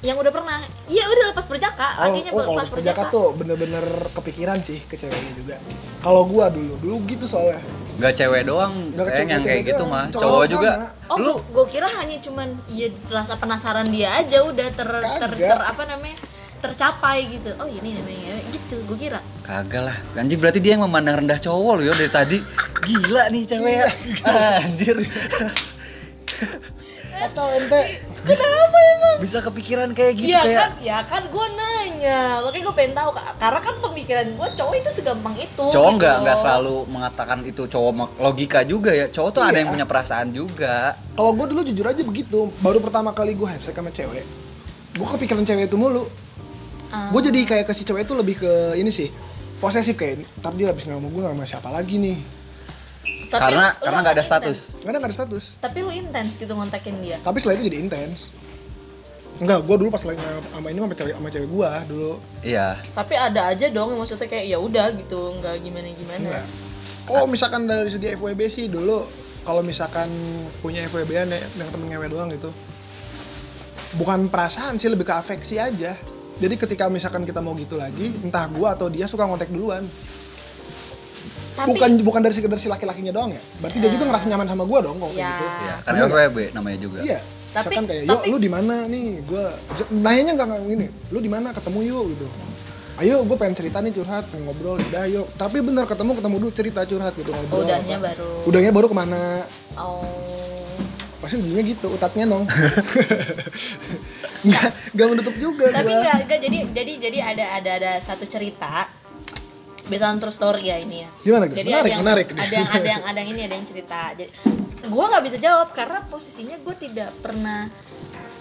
A: yang udah pernah iya udah lepas perjaka
B: Oh,
A: akhirnya
B: oh,
A: baru
B: kalau
A: lepas
B: lepas perjaka
A: perjaka,
B: tuh bener-bener kepikiran sih ke ceweknya juga. Kalau gua dulu, dulu gitu
A: Eh.
B: soalnya.
C: nggak cewek doang
B: Nggak
C: kayak
B: cewek-
C: yang kayak
B: cewek
C: gitu
B: doang.
C: mah
B: Cowok
C: cowok, juga
A: oh
C: lu
A: gue kira hanya cuman iya rasa penasaran dia aja udah ter ter,
B: Kagak.
A: ter- apa namanya tercapai gitu oh ini namanya ngewe gitu gue kira
C: kagak lah anjir berarti dia yang memandang rendah cowok lu ya dari tadi
B: Iya.
C: gila nih cewek anjir
B: Kacau ente.
A: Kenapa emang?
C: bisa kepikiran kayak gitu
A: ya
C: kayak
A: kan, ya kan gue nanya. Makanya gue pengen tahu Kak. karena kan pemikiran gue cowok itu segampang itu. gitu
C: cowok nggak
A: loh.
C: nggak selalu mengatakan itu cowok mak- logika juga ya cowok tuh ada
B: Iya.
C: yang punya perasaan juga
B: Kalau gue dulu jujur aja begitu, baru pertama kali gue have sex sama cewek, gue kepikiran cewek itu mulu.
A: Ah.
B: Gue jadi kayak ke si cewek itu lebih ke ini sih, posesif kayak. Ntar dia habis ngomong gue sama siapa lagi nih?
A: Tapi
C: karena
A: lu
C: karena nggak ada
A: intens.
C: status
B: Nggak ada nggak ada status.
A: Tapi lu intens gitu ngontakin dia.
B: Tapi setelah itu jadi intens. Enggak, gue dulu pas lagi sama- sama ini sama cewek sama cewek gue dulu.
C: iya
A: Tapi ada aja dong yang maksudnya kayak ya udah gitu, nggak gimana gimana.
B: Enggak. Oh misalkan dari segi FWB sih dulu kalau misalkan punya FWB an ya, dengan temen ngewe doang gitu. Bukan perasaan sih lebih ke afeksi aja. Jadi ketika misalkan kita mau gitu lagi, entah gua atau dia suka ngontek duluan.
A: Tapi Iya.
B: bukan bukan dari sekedar si laki-lakinya doang ya. Berarti dia juga ngerasa nyaman sama gua dong kalau kayak
A: Ya.
B: gitu.
C: iya
B: Bener
C: karena
B: nggak?
C: FWB namanya juga
B: Iya.
A: Tapi-
B: misalkan kayak, "Yuk,
A: tapi-
B: lu di mana nih? Gua nanyanya enggak gini. Lu di mana? Ketemu yuk gitu. Ayo, gue pengen cerita nih curhat, pengen ngobrol, udah yuk. Tapi bener ketemu ketemu dulu cerita curhat gitu ngobrol.
A: udahnya
B: apa.
A: baru.
B: Udangnya baru kemana?
A: Oh.
B: Pasti ujungnya gitu, utatnya dong. nggak, nggak menutup juga
A: tapi
B: gua.
A: enggak, enggak jadi jadi jadi ada ada ada satu cerita Besan true story ya ini ya.
B: Gimana, Gra?
A: Jadi
B: Menarik,
A: ada yang,
B: menarik nih.
A: Ada yang ada yang ada yang ini ada yang cerita. Jadi gue nggak bisa jawab karena posisinya gue tidak pernah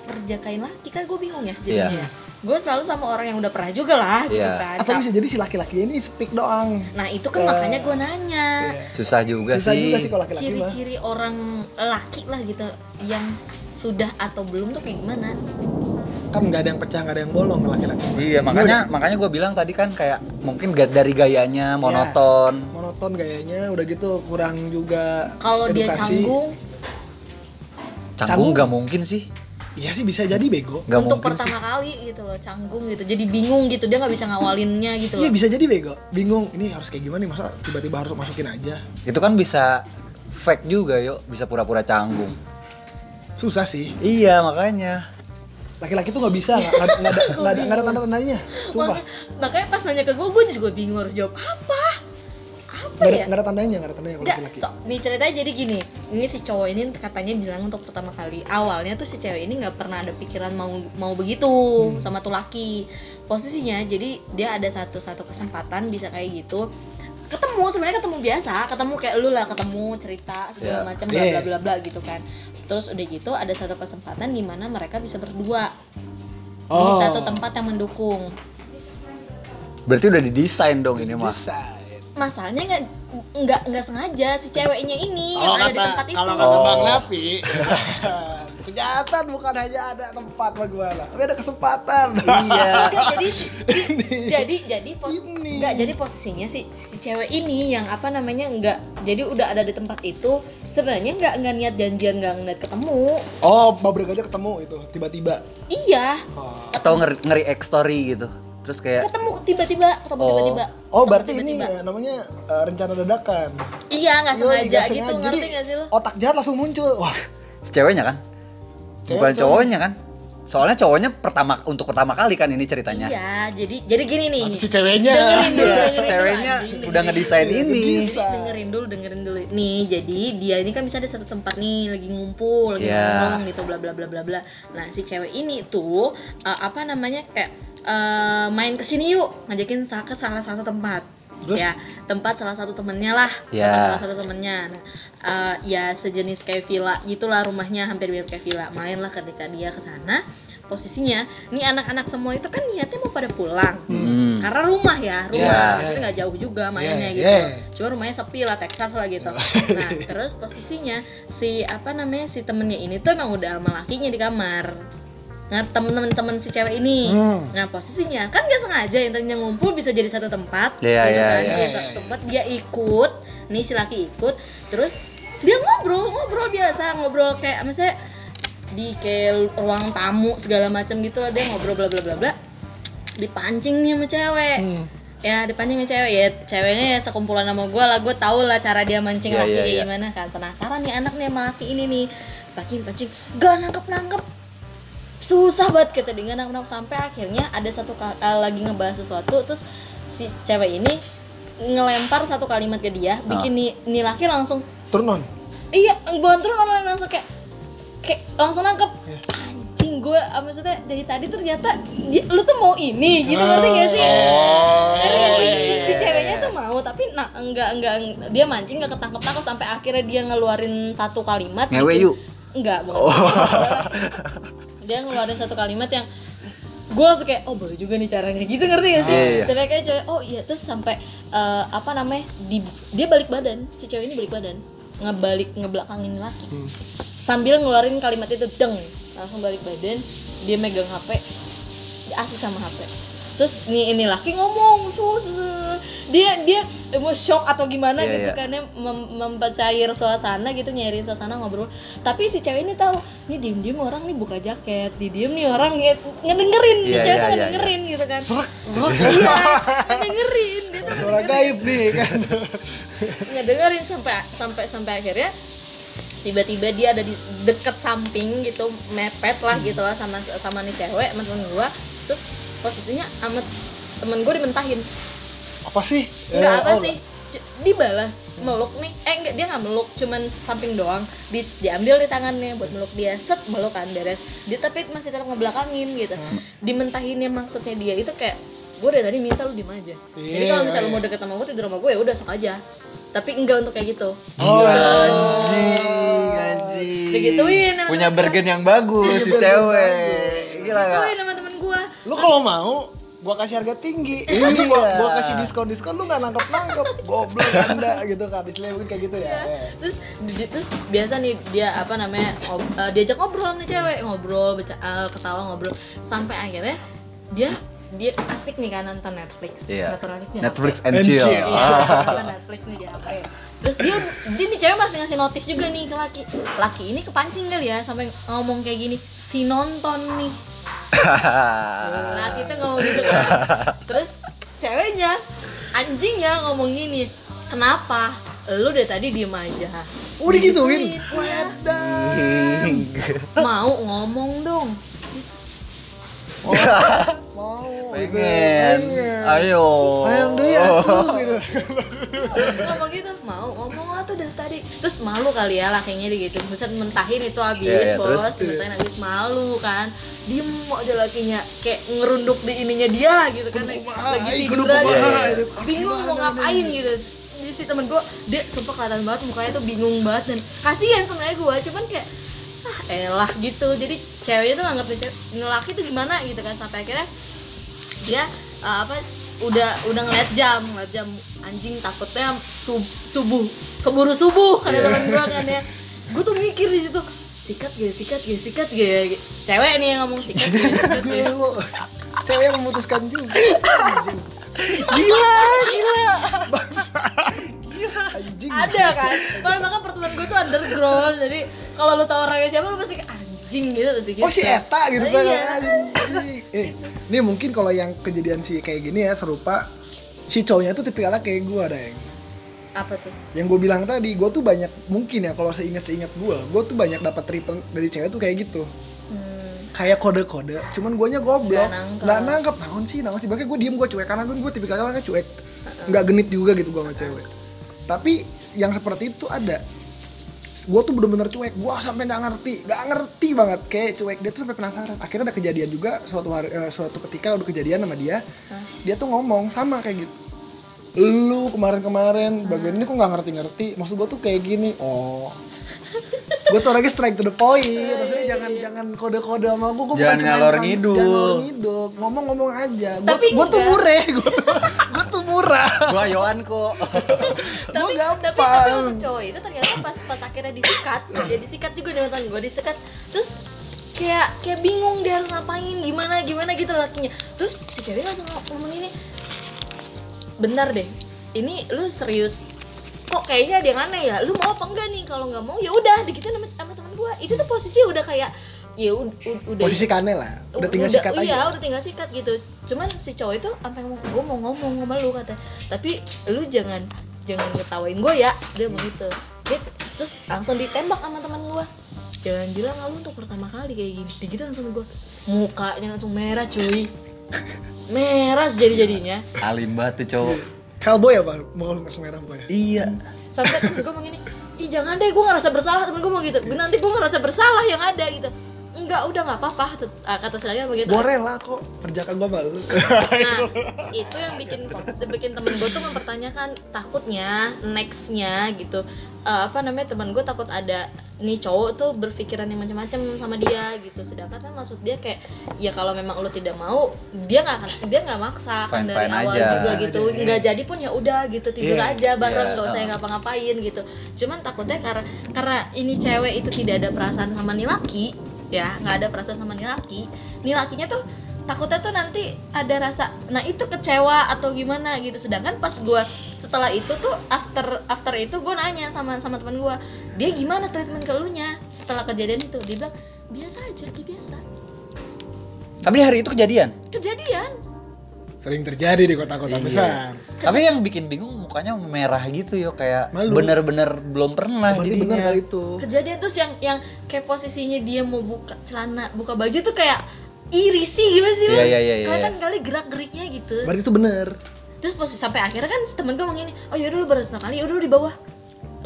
A: kerja kain laki kan gue bingung ya jadinya.
C: Iya.
A: Gue selalu sama orang yang udah pernah juga lah gitu
C: Iya.
A: kan.
B: Atau bisa jadi si laki-laki ini speak doang.
A: Nah itu kan
B: Eh,
A: makanya gue nanya
C: susah juga
B: Susah
C: sih
B: juga sih kalau laki-laki mah.
A: ciri-ciri orang laki lah gitu yang sudah atau belum tuh kayak gimana?
B: Kan nggak ada yang pecah, nggak ada yang bolong laki-laki.
C: Iya makanya makanya gue bilang tadi kan kayak mungkin ga- dari gayanya monoton.
B: Monoton gayanya, udah gitu kurang juga
A: Kalau dia
B: edukasi.
A: canggung
C: Canggung
B: Canggung.
C: nggak mungkin sih,
B: Iya sih bisa jadi bego.
C: nggak
A: untuk
C: mungkin
A: pertama kali gitu loh canggung gitu jadi bingung gitu dia nggak bisa ngawalinnya gitu
B: Iya
A: loh
B: bisa jadi bego. Bingung, ini harus kayak gimana nih masa tiba-tiba harus masukin aja.
C: sih. Itu kan bisa fake juga yuk, bisa pura-pura canggung.
B: Susah sih.
C: Iya makanya.
B: Laki-laki tuh nggak bisa, nggak nggak ada nggak ada, nggak ada tanda-tandanya. Sumpah.
A: makanya, makanya pas nanya ke gue gue juga bingung harus jawab apa apa
B: Nggak ada,
A: ya
B: nggak ada tandanya, nggak ada tandanya kalau
A: Nggak,
B: laki-laki.
A: so, nih ceritanya jadi gini ini si cowok ini katanya bilang untuk pertama kali awalnya tuh si cewek ini nggak pernah ada pikiran mau mau begitu
B: Hmm.
A: sama tuh laki posisinya jadi dia ada satu satu kesempatan bisa kayak gitu ketemu sebenarnya ketemu biasa ketemu kayak lu lah ketemu cerita segala
C: Ya.
A: macam bla bla
B: Iya.
A: bla bla gitu kan terus udah gitu ada satu kesempatan di mana mereka bisa berdua di
B: Oh.
A: satu tempat yang mendukung
C: Berarti udah didesain dong ini mah.
B: Bisa.
A: masalahnya nggak nggak nggak sengaja si ceweknya ini
B: Kalau
A: yang ada Iya,
B: Oh,
A: di
B: kata
A: tempat itu
B: kalau kata
C: Oh.
B: Bang Napi, kejahatan bukan hanya ada tempat bagaimana, tapi ada kesempatan.
C: iya.
A: Enggak, jadi jadi jadi pos-
B: Ini.
A: enggak jadi posisinya si si cewek ini yang apa namanya enggak jadi udah ada di tempat itu sebenarnya enggak enggak niat janjian enggak niat ketemu
B: Oh, babrek aja ketemu itu tiba-tiba.
A: iya
B: Oh.
C: Atau ngeri ngeri story gitu. Terus kayak
A: ketemu tiba-tiba ketemu
C: Oh.
A: tiba-tiba
B: Ya. Oh,
A: Ketemu
B: berarti ini
A: tiba-tiba.
B: ya, namanya eh, rencana dadakan.
A: iya nggak
B: Yoi,
A: sengaja,
B: nggak
A: gitu
B: sengaja.
A: ngerti
B: Jadi,
A: nggak sih lo
B: Otak jahat langsung muncul. Wah,
C: si ceweknya kan, bukan
B: Cewek-
C: cowoknya kan. Soalnya cowoknya pertama untuk pertama kali kan ini ceritanya.
A: iya jadi jadi gini nih
B: si ceweknya.
A: dengerin dulu dengerin dulu,
C: Iya, Ceweknya
A: anjing,
C: udah
A: dengerin
C: ngedesain
B: Iya,
C: ini.
B: ngedesain. Bisa.
A: dengerin dulu dengerin dulu nih jadi dia ini kan bisa ada satu tempat nih lagi ngumpul lagi
C: Iya.
A: nongkrong gitu bla bla bla bla bla nah si cewek ini tuh eh, apa namanya kayak eh, main kesini yuk ngajakin sa- ke salah satu tempat
B: Terus?
A: ya tempat salah satu temennya lah
C: Iya.
A: tempat salah satu temennya nah, eh, ya sejenis kayak villa gitulah rumahnya hampir mirip kayak villa mainlah ketika dia ke sana posisinya nih anak-anak semua itu kan niatnya mau pada pulang
C: Hmm.
A: karena rumah ya rumah
C: Iya.
A: maksudnya nggak jauh juga mainnya
B: Iya,
A: gitu
B: iya.
A: cuma rumahnya sepi lah Texas lah gitu nah terus posisinya si apa namanya si temennya ini tuh emang udah sama lakinya di kamar nah temen-temen temen si cewek ini
B: Hmm.
A: nah posisinya kan nggak sengaja yang tadinya ngumpul bisa jadi satu tempat
C: Iya,
A: gitu
C: iya,
A: kan
C: iya,
A: Jadi
B: iya,
A: satu
B: iya.
A: tempat dia ikut nih si laki ikut terus dia ngobrol ngobrol biasa ngobrol kayak misalnya di kayak ruang tamu segala macam gitu lah dia ngobrol bla bla bla bla dipancing nih sama cewek
B: Hmm.
A: ya depannya sama cewek ya ceweknya ya sekumpulan sama gue lah gue tau lah cara dia mancing
C: Iya,
A: laki
C: iya,
A: kayak
C: iya.
A: gimana kan penasaran nih anak nih sama laki ini nih pancing pancing gak nangkep nangkep susah banget kita dengan nangkep nangkep sampai akhirnya ada satu kal- eh, lagi ngebahas sesuatu terus si cewek ini ngelempar satu kalimat ke dia
C: Ah.
A: bikin nih, nih laki langsung
B: Turun on.
A: iya bantuan orang lain langsung kayak kayak langsung nangkep
B: Iya.
A: gue ah, maksudnya dari tadi tuh ternyata di- lu tuh mau ini gitu ngerti gak sih?
C: Oh.
A: Ngerti nggak
C: iya,
A: sih? si ceweknya tuh mau tapi nah enggak enggak enggak- dia mancing nggak ketangkep tangkep sampai akhirnya dia ngeluarin satu kalimat
C: Ngewe
A: gitu.
C: yuk. Oh.
A: enggak bukan dia ngeluarin satu kalimat yang gue langsung kayak oh boleh juga nih caranya gitu ngerti gak sih
C: Iya, iya.
A: sampai kayak cewek oh iya terus sampai eh, apa namanya di, dia balik badan si cewek ini balik badan ngebalik ngebelakangin laki sambil ngeluarin kalimat itu deng langsung balik badan dia megang HP dia asik sama HP terus nih ini laki ngomong su- su- su- dia dia mau shock atau gimana
C: Iya,
A: gitu
C: iya.
A: karena mem- mempercayair suasana gitu nyairin suasana ngobrol tapi si cewek ini tahu ini diem diem orang nih buka jaket di diem nih orang nge- ngedengerin
C: Iya,
A: di cewek
C: iya,
A: tuh
C: iya,
A: ngedengerin gitu kan iya ngedengerin dia tuh
B: suara gaib nih kan
A: ngedengerin sampai sampai sampai akhirnya tiba-tiba dia ada di deket samping gitu mepet lah gitu lah sama sama nih cewek sama temen gua terus posisinya amat temen gua dimentahin
B: apa sih
A: nggak
B: Eh,
A: apa
B: oh,
A: sih C- dibalas meluk nih eh enggak dia nggak meluk cuman samping doang di, diambil di tangannya buat meluk dia set meluk kan beres dia tapi masih tetap ngebelakangin gitu
B: Hmm.
A: dimentahinnya maksudnya dia itu kayak gue dari tadi minta lu diem aja jadi
B: Iya,
A: kalau misalnya lu
B: iya.
A: mau deket sama gue tidur sama gue ya udah sok aja tapi enggak untuk kayak gitu
B: oh,
C: Iya. Anjing, anjing.
A: Digituin sama
C: Punya
A: temen
C: bergen yang bagus si
B: bergen
C: cewek. Gila
A: gua.
C: gak?
A: Digituin sama temen gue
B: lu kalau mau gua kasih harga tinggi
C: Iya.
B: ini gua, gua kasih diskon diskon lu nggak nangkep nangkep goblok anda gitu kan istilahnya mungkin kayak gitu ya
C: Iya.
A: terus di- terus biasa nih dia apa namanya ngob- eh, diajak ngobrol nih cewek ngobrol beca- eh, ketawa ngobrol sampai akhirnya dia dia asik nih kan nonton Netflix
C: Iya.
A: nonton Netflixnya
C: Netflix
A: apa?
C: and
B: And
C: chill. Ah.
B: chill.
A: Iya, nonton Netflix nih di HP terus dia dia nih cewek masih ngasih notice juga nih ke laki laki ini kepancing kali ya sampai ngomong kayak gini si nonton nih laki tuh ngomong gitu kan terus ceweknya anjingnya ngomong gini kenapa lu dari tadi diem aja
B: udah digituin
A: Iya.
B: wadah
A: mau ngomong dong
B: mau gitu.
C: Pengen. Ayo.
B: ayang deh ya tuh gitu
A: ngomong gitu mau ngomong lah tuh dari tadi terus malu kali ya lakinya gitu buset mentahin itu habis
C: Iya, iya,
A: bos
C: terus?
A: mentahin habis malu kan diem aja lakinya kayak ngerunduk di ininya dia lah gitu kan
B: kumaha,
A: lagi
B: ai, kudu
A: tiduran
B: kumaha, itu.
A: bingung mau ngapain gitu di si temen gue dia sumpah kelihatan banget mukanya tuh bingung banget dan kasihan sebenarnya gue cuman kayak ah elah gitu jadi ceweknya tuh nganggap laki tuh gimana gitu kan sampai akhirnya dia uh, apa udah udah ngeliat jam ngeliat jam anjing takutnya sub- subuh keburu subuh
B: Iya.
A: karena temen gue kan ya gue tuh mikir di situ sikat gak ya, sikat gak ya, sikat gak ya?" cewek nih yang ngomong sikat gak ya, sikat gak ya.
B: Gelo. cewek yang memutuskan juga anjing
C: Gila, gila.
B: anjing
A: ada kan kalau makanya pertemuan gue tuh underground jadi kalau lu tau orangnya siapa lu pasti kayak, anjing gitu tadi
B: Oh si Eta gitu kan.
A: Iya.
B: Anjing. Eh, ini mungkin kalau yang kejadian si kayak gini ya serupa si cowoknya tuh tipikalnya kayak gue deng.
A: apa tuh
B: Yang gue bilang tadi, gue tuh banyak mungkin ya kalau seingat seingat gue, gue tuh banyak dapat triple dari cewek tuh kayak gitu.
A: hmm.
B: Kayak kode-kode, cuman guanya goblok.
A: Nggak nangkep.
B: Nggak nangkep. Naon sih, naon sih. Makanya gue diem, gue cuek. Karena gue, gue tipikalnya orangnya cuek. Nggak genit juga gitu gue sama cewek. Tapi yang seperti itu ada. Gue tuh bener-bener cuek. Gue sampai nggak ngerti. Nggak ngerti banget. Kayak cuek. Dia tuh sampai penasaran. Akhirnya ada kejadian juga suatu hari, eh, suatu ketika udah kejadian sama dia. Dia tuh ngomong sama kayak gitu lu kemarin-kemarin bagian ini kok nggak ngerti-ngerti maksud gue tuh kayak gini oh gue tuh orangnya strike to the point maksudnya jangan
A: Iya.
B: jangan kode-kode sama gue gue
C: Jangan ngalor ngidul.
B: jangan ngalor ngidul ngomong-ngomong aja gue
A: Tapi
B: gue tuh
A: enggak.
B: murah gue tuh gue tuh murah
C: Gua ayoan kok.
B: Gua
A: tapi tapi
B: gampang.
A: tapi untuk cowok itu ternyata pas pas akhirnya disikat dia disikat juga dengan mantan gue disikat terus kayak kayak bingung dia harus ngapain gimana gimana gitu lakinya terus si cewek langsung ngom- ngomong ini bentar deh ini lu serius kok kayaknya ada yang aneh ya lu mau apa enggak nih kalau nggak mau ya udah dikitin sama, sama teman gue itu tuh posisinya udah kayak ya ud- ud- udah
B: posisi kane lah udah tinggal sikat
A: iya,
B: aja
A: udah tinggal sikat gitu cuman si cowok itu sampai ngomong gue mau ngomong sama lu kata tapi lu jangan jangan ngetawain gue ya dia mau gitu dia, terus langsung ditembak sama teman gue jangan bilang lu untuk pertama kali kayak gini digitu sama gue mukanya langsung merah cuy merah sejadi jadinya
C: Alim banget tuh cowok.
B: Hellboy apa? Mau langsung merah boy.
C: Iya.
A: sampai temen gue mau gini ih jangan deh gue ngerasa bersalah temen gue mau gitu nanti gue ngerasa bersalah yang ada gitu enggak udah nggak apa-apa tet- ah, kata saya begitu
B: Gue rela kok kerjakan gue baru.
A: nah itu yang bikin bikin temen gue tuh mempertanyakan takutnya nextnya gitu eh, apa namanya temen gue takut ada nih cowok tuh berpikiran yang macam-macam sama dia gitu sedangkan kan maksud dia kayak ya kalau memang lo tidak mau dia nggak akan dia nggak maksa kan dari
C: Fine-fine
A: awal
C: aja.
A: juga gitu
B: Fine-fine aja,
A: nggak
B: iya.
A: jadi pun ya udah gitu tidur
B: Iya.
A: aja bareng
C: Iya,
A: nggak usah
C: heeh.
A: ngapa-ngapain gitu cuman takutnya karena karena ini cewek itu tidak ada perasaan sama nih laki ya nggak ada perasaan sama nih laki nih lakinya tuh takutnya tuh nanti ada rasa nah itu kecewa atau gimana gitu sedangkan pas gua setelah itu tuh after after itu gue nanya sama sama teman gua dia gimana treatment ke elunya setelah kejadian itu dia bilang biasa aja kayak biasa
C: Tapi hari itu kejadian.
A: kejadian
B: Sering terjadi di kota-kota
C: Iya.
B: besar.
C: Tapi yang bikin bingung mukanya merah gitu yo kayak
B: Malu.
C: bener-bener belum pernah
B: Berarti
C: jadinya.
B: bener kali itu.
A: kejadian terus yang yang kayak posisinya dia mau buka celana buka baju tuh kayak iri sih gimana sih
C: Iya,
A: Bang?
C: iya, iya, iya.
A: kelihatan kali gerak geriknya gitu
B: Berarti itu bener.
A: terus posisi sampai akhirnya kan temen gue ngomong ini oh yaudah lu baru pertama kali udah lu di bawah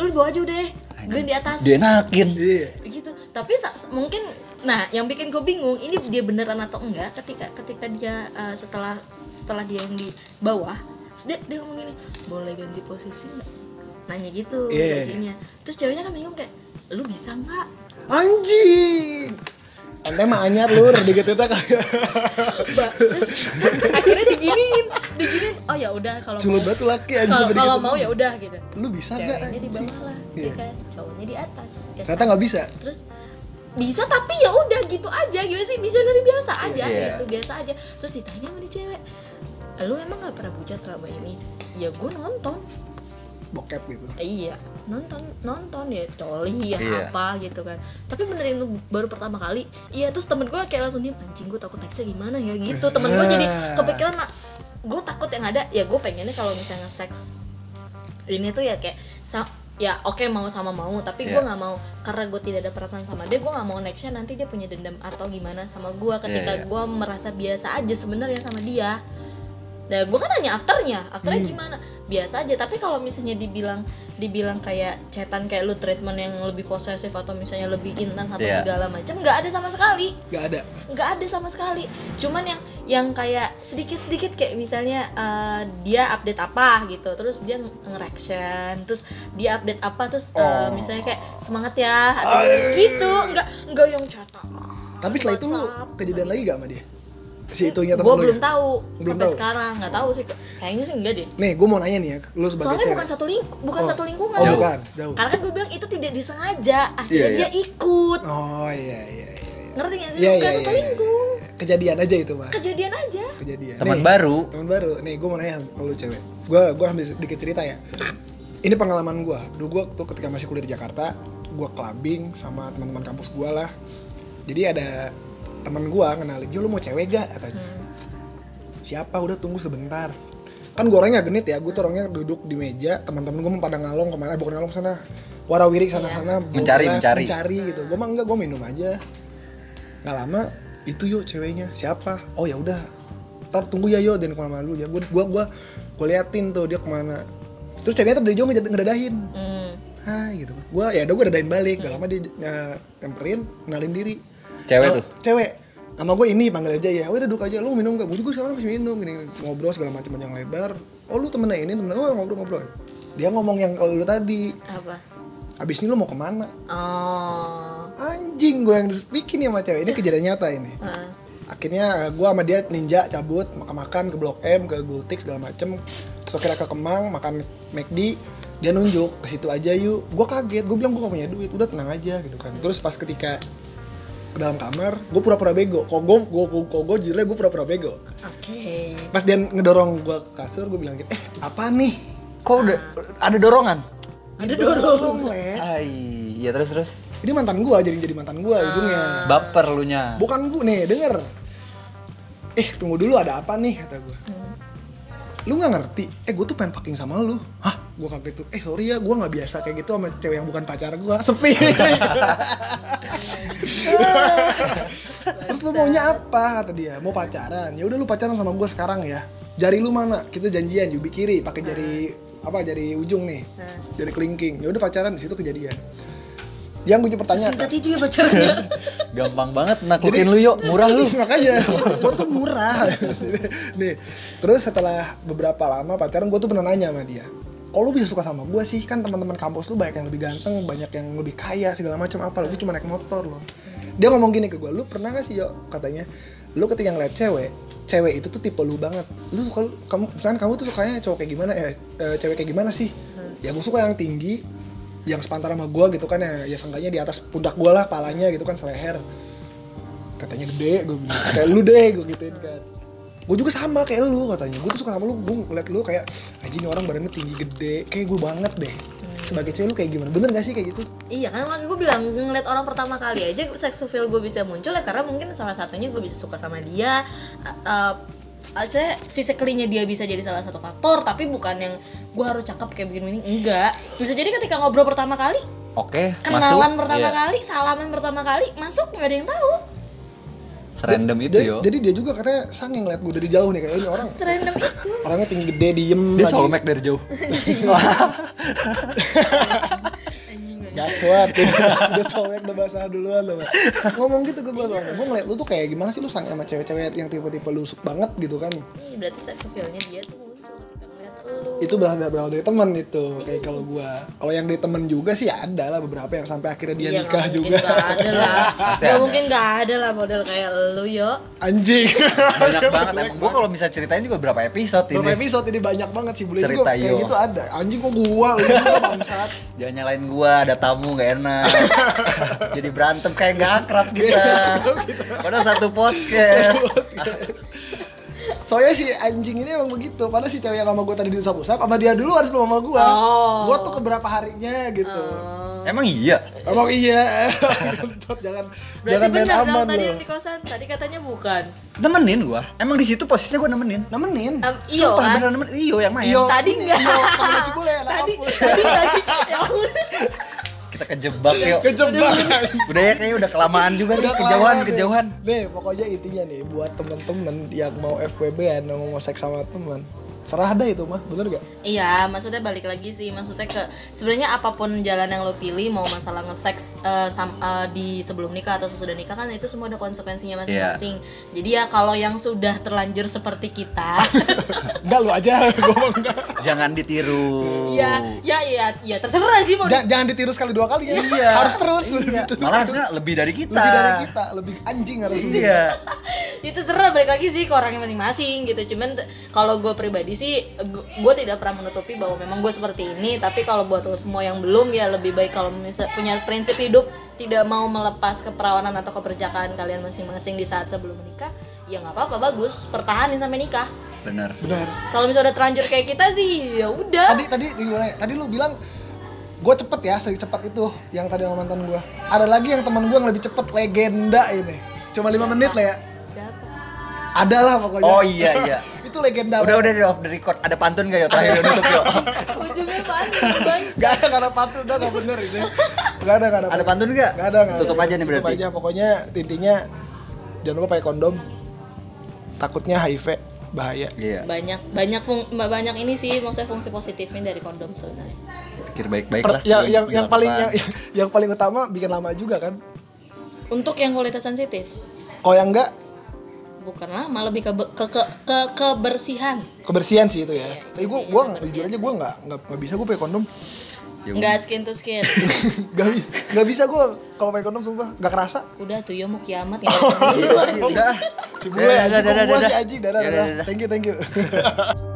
A: lu di bawah aja udah gue yang di atas
C: Dienakin.
B: Iya.
A: gitu tapi sa- sa- mungkin nah yang bikin gue bingung ini dia beneran atau enggak ketika ketika dia eh, setelah setelah dia yang di bawah terus dia, dia ngomong gini boleh ganti posisi nggak nanya gitu
B: Iya.
A: jadinya terus ceweknya kan bingung kayak lu bisa nggak
B: Anjing. Ente mah anyar lur dikit kita kayak
A: Ba- terus, terus akhirnya diginiin diginiin oh ya udah kalau
B: sulut
A: mau-
B: banget tuh laki anjing.
A: kalau
B: sama
A: kalau
B: dikit.
A: mau ya udah gitu
B: Lu bisa gak
A: ceweknya di
B: anjing?
A: bawah lah
B: Iya.
A: ya kan cowoknya di atas ya
B: Ternyata nggak bisa.
A: terus bisa tapi ya udah gitu aja gimana sih bisa dari biasa aja
C: Iya.
A: gitu biasa aja terus ditanya sama dia cewek lu emang gak pernah pucat selama ini ya gue nonton
B: Bokep gitu.
A: Eh, iya nonton nonton ya coli ya
C: Iya.
A: apa gitu kan tapi benerin lu baru pertama kali iya terus temen gue kayak langsung diem anjing gue takut nextnya gimana ya gitu temen gue jadi
C: Iya.
A: kepikiran mak gue takut yang ada ya gue pengennya kalau misalnya seks ini tuh ya kayak sa- ya oke mau sama mau tapi gue
C: Iya.
A: nggak mau karena gue tidak ada perasaan sama dia gue nggak mau nextnya nanti dia punya dendam atau gimana sama gue ketika
C: iya.
A: gue merasa biasa aja sebenarnya sama dia Nah, gue kan nanya afternya, afternya
C: Hmm.
A: gimana? Biasa aja. Tapi kalau misalnya dibilang, dibilang kayak cetan kayak lu treatment yang lebih posesif atau misalnya lebih intens atau
C: Iya.
A: segala macam, nggak ada sama sekali,
B: Gak ada.
A: nggak ada sama sekali. Cuman yang yang kayak sedikit-sedikit kayak misalnya eh, dia update apa gitu, terus dia nge-reaction, terus dia update apa, terus eh,
B: Oh.
A: misalnya kayak semangat ya, atau gitu, nggak nggak yang cetan.
B: Tapi setelah itu lu
A: WhatsApp.
B: kejadian lagi gak sama dia? Si itunya
A: Gue
B: temen lu
A: belum
B: ya?
A: tahu
B: Belum
A: sampai
B: tahu.
A: sekarang, nggak tahu sih. Kayaknya sih enggak deh.
B: Nih, gue mau nanya nih ya, lu sebagai
A: soalnya
B: cewek.
A: bukan satu ling bukan
B: Oh.
A: satu lingkungan
B: Oh,
C: Jauh.
B: bukan, jauh.
A: karena kan gue bilang itu tidak disengaja akhirnya
C: Iya, iya.
A: dia ikut
B: Oh iya iya iya.
A: ngerti gak sih
B: Iya,
A: bukan
B: iya,
A: satu
B: iya,
A: lingkung
B: Kejadian aja itu, Mas.
A: kejadian aja
B: Kejadian.
C: Teman
B: Nih,
C: baru.
B: Teman baru. Nih, gue mau nanya kalau lu cewek. Gue gua ambil sedikit cerita ya. Ini pengalaman gue. Dulu gue tuh ketika masih kuliah di Jakarta, gue clubbing sama teman-teman kampus gue lah. Jadi ada teman gue kenalin, "Yo lu mau cewek gak?" katanya.
A: Hmm,
B: siapa udah tunggu sebentar kan gue orangnya nggak genit ya gue tuh orangnya duduk di meja teman-teman gue pada ngalong kemana bukan ngalong sana warawirik sana sana
C: Mencari, mencari.
B: mencari gitu gue mah enggak gue minum aja nggak lama itu yuk ceweknya siapa oh ya udah ntar tunggu ya yo dan kemana dulu ya gue gue gue gue liatin tuh dia kemana terus ceweknya tuh dari jauh ngejad- ngedadahin
A: hmm.
B: hai gitu gue ya udah gue dadahin balik gak lama dia eh, nyamperin kenalin diri
C: Cewek
B: Oh,
C: tuh.
B: Cewek. Sama gue ini panggil aja ya. Udah duduk aja. Lu minum gak? Gue juga sekarang masih minum. Gini, gini. ngobrol segala macam panjang lebar. Oh lu temennya ini temennya. Oh ngobrol-ngobrol. Dia ngomong yang kalau lu tadi.
A: apa
B: Abis ini lu mau kemana?
A: oh
B: Anjing gue yang harus bikin ya sama cewek. Ini kejadian nyata ini.
A: Heeh.
B: Akhirnya gue sama dia ninja cabut makan-makan ke Blok M ke Gultik segala macem. Terus akhirnya ke Kemang makan McD dia nunjuk ke situ aja yuk gue kaget gue bilang gue gak punya duit udah tenang aja gitu kan terus pas ketika ke dalam kamar gue pura-pura bego kok gue gue kok gue jujur gue pura-pura bego
A: oke
B: pas dia ngedorong gue ke kasur gue bilang gitu eh apa nih
C: Kok udah ada dorongan?
A: ada dorong
B: le
C: Ai, iya terus terus.
B: ini mantan gue jadi jadi mantan gue
A: Ah.
B: ujungnya
C: Baper lu nya.
B: bukan gue nih denger eh tunggu dulu ada apa nih kata gue lu nggak ngerti eh gue tuh pengen fucking sama lu hah gue kaget tuh eh sorry ya gue nggak biasa kayak gitu sama cewek yang bukan pacar gue sepi terus lu maunya apa kata dia mau pacaran ya udah lu pacaran sama gue sekarang ya jari lu mana kita janjian ubi kiri pakai jari apa jari ujung nih
A: Nah,
B: dari kelingking ya udah pacaran di situ kejadian yang gue pertanyaan
A: Singkat itu ya pacarnya.
C: Gampang banget naklukin lu yuk, murah lu.
B: Iya, makanya gue tuh murah nih terus setelah beberapa lama pacaran gue tuh pernah nanya sama dia kok lu bisa suka sama gue sih kan teman-teman kampus lu banyak yang lebih ganteng banyak yang lebih kaya segala macam apa lu cuma naik motor loh dia ngomong gini ke gue lu pernah gak sih yo katanya lu ketika ngeliat cewek cewek itu tuh tipe lu banget lu suka kamu misalkan kamu tuh sukanya cowok kayak gimana eh, eh, cewek kayak gimana sih ya gue suka yang tinggi yang sepantar sama gue gitu kan ya ya seenggaknya di atas pundak gue lah palanya gitu kan seleher katanya gede gue bilang kayak lu deh gue gituin kan gue juga sama kayak lu katanya gue tuh suka sama lu gue ngeliat lu kayak aja ini orang badannya tinggi gede kayak gue banget deh sebagai cewek lu kayak gimana bener gak sih kayak gitu
A: Iya kan makanya gue bilang ngeliat orang pertama kali aja seks appeal gue bisa muncul ya karena mungkin salah satunya gue bisa suka sama dia eh eh, saya physically-nya dia bisa jadi salah satu faktor tapi bukan yang gue harus cakep kayak begini ini enggak bisa jadi ketika ngobrol pertama kali
C: Oke, masuk.
A: kenalan pertama
C: Iya,
A: kali salaman pertama kali masuk nggak ada yang tahu
C: Serandom itu
B: jadi,
C: Gitu, yo.
B: jadi dia juga katanya sang yang ngeliat gue dari jauh nih kayak "Oh, ini orang
A: serandom itu
B: orangnya tinggi gede diem
C: Dia colmek dari jauh.
A: Iya.
B: gaswat dia colmek udah basah duluan loh Pak. ngomong gitu ke gue soalnya gue ngeliat lu tuh kayak gimana sih lu sang sama cewek-cewek yang tipe-tipe lusuk banget gitu kan
A: Ih, berarti seks appeal-nya dia tuh muncul ketika ngeliat lu
B: itu berawal dari, berawal dari teman itu kayak kalau
A: Hmm.
B: gua kalau yang dari teman juga sih ada lah beberapa yang sampai akhirnya dia
A: Iya,
B: nikah
A: nggak mungkin
B: juga
A: nggak ada lah
C: Pasti
A: Nggak
C: ada.
A: mungkin nggak ada lah model kayak lu yo
B: anjing
C: Banyak banget emang. Gua kalau bisa ceritain juga berapa episode
B: Berapa
C: ini.
B: episode ini banyak banget sih bule
C: Cerita
B: juga kayak
C: yo.
B: gitu ada anjing kok gua lu juga bangsat
C: Jangan nyalain gua, ada tamu nggak enak. Jadi berantem kayak nggak akrab
B: Iya,
C: kita. Padahal satu podcast.
B: soalnya si anjing ini emang begitu padahal si cewek yang sama gua tadi diusap-usap sama dia dulu harus belum sama gua
A: Oh.
B: gua tuh keberapa harinya gitu
C: Emang iya.
B: emang iya Kentut, jangan
A: Berarti
B: jangan main
A: benar
B: aman
A: dong tadi
B: lo
A: yang di kosan, tadi katanya bukan.
C: Nemenin gua. Emang di situ posisinya gua nemenin.
B: nemenin
A: Em, iyo
C: Sumpah,
A: kan?
C: beneran nemenin. Iyo yang main.
B: Iyo.
A: Tadi enggak.
B: Iyo, kalau masih boleh anak
A: Tadi,
B: kampus.
A: tadi, tadi, ya udah.
C: Kita kejebak yuk.
B: kejebak
C: Udah ya kayaknya udah kelamaan juga
B: Iya, kan?
C: nih.
B: Udah
C: Kejauhan,
B: kelamaan nih.
C: kejauhan.
B: Nih, pokoknya intinya nih buat temen-temen yang mau FWB yang mau seks sama temen serah deh itu mah bener gak?
A: Iya, maksudnya balik lagi sih, maksudnya ke sebenarnya apapun jalan yang lo pilih, mau masalah nge-sex eh, sam- eh, di sebelum nikah atau sesudah nikah kan itu semua ada konsekuensinya masing-masing. Jadi ya kalau yang sudah terlanjur seperti kita,
B: Enggak lu aja, gua mau enggak.
C: Jangan ditiru.
A: ya, ya, ya, ya terserah sih mau.
B: Jangan, jangan ditiru sekali dua kali ya.
C: Iya.
B: Harus terus.
C: Iya. Malah harusnya lebih dari kita.
B: Lebih dari kita, lebih anjing harusnya.
C: Iya.
A: itu serah balik lagi sih ke orangnya masing-masing gitu cuman t- kalau gue pribadi sih gue tidak pernah menutupi bahwa memang gue seperti ini tapi kalau buat lo semua yang belum ya lebih baik kalau misal punya prinsip hidup tidak mau melepas keperawanan atau keperjakaan kalian masing-masing di saat sebelum menikah ya nggak apa-apa bagus pertahanin sampai nikah
C: Bener.
B: Benar.
A: kalau misalnya udah terlanjur kayak kita sih ya udah
B: Tadi tadi gimana ya? Tadi lu bilang gue cepet ya, secepat itu yang tadi sama mantan gue. Ada lagi yang teman gue yang lebih cepet legenda ini. Cuma lima menit lah ya.
A: siapa
B: Ada lah pokoknya.
C: Oh iya iya.
B: itu legenda.
C: Udah udah udah off the record. Ada pantun gak yuk terakhir yuk, nutup yuk?
A: ujungnya panik
B: Gak ada, gak ada patut, udah gak bener ini. Gak ada, gak ada.
C: Ada pantun gak?
B: Gak ada, gak ada.
C: Tutup aja nih
B: Tutup
C: berarti.
B: aja, pokoknya intinya jangan lupa pakai kondom. Takutnya HIV bahaya.
C: Iya.
A: banyak banyak fung- banyak ini sih maksudnya fungsi positifnya dari kondom sebenarnya
C: Pikir baik-baik
B: Per- yang,
C: lah. sebelum
B: yang, yang paling yang,
C: dilakukan.
B: yang paling utama bikin lama juga kan.
A: untuk yang kualitas sensitif
B: Kalau yang enggak
A: bukan lama lebih ke ke ke, ke- kebersihan
B: kebersihan sih itu ya.
A: Iya,
B: Tapi gue gua jujur aja gue nggak nggak nggak bisa gue pakai kondom.
C: Yuk.
A: nggak skin to skin
B: Gak bisa, gak bisa gue kalau pakai kondom sumpah nggak kerasa.
A: udah tuh yo mau kiamat ya
C: Udah.
B: Si bule
C: Dadah,
B: aja,
C: dadah,
B: gue
C: dadah.
B: sih aja, dadah,
C: Dadah,
B: dadah.
C: dadah.
B: Thank you, thank you.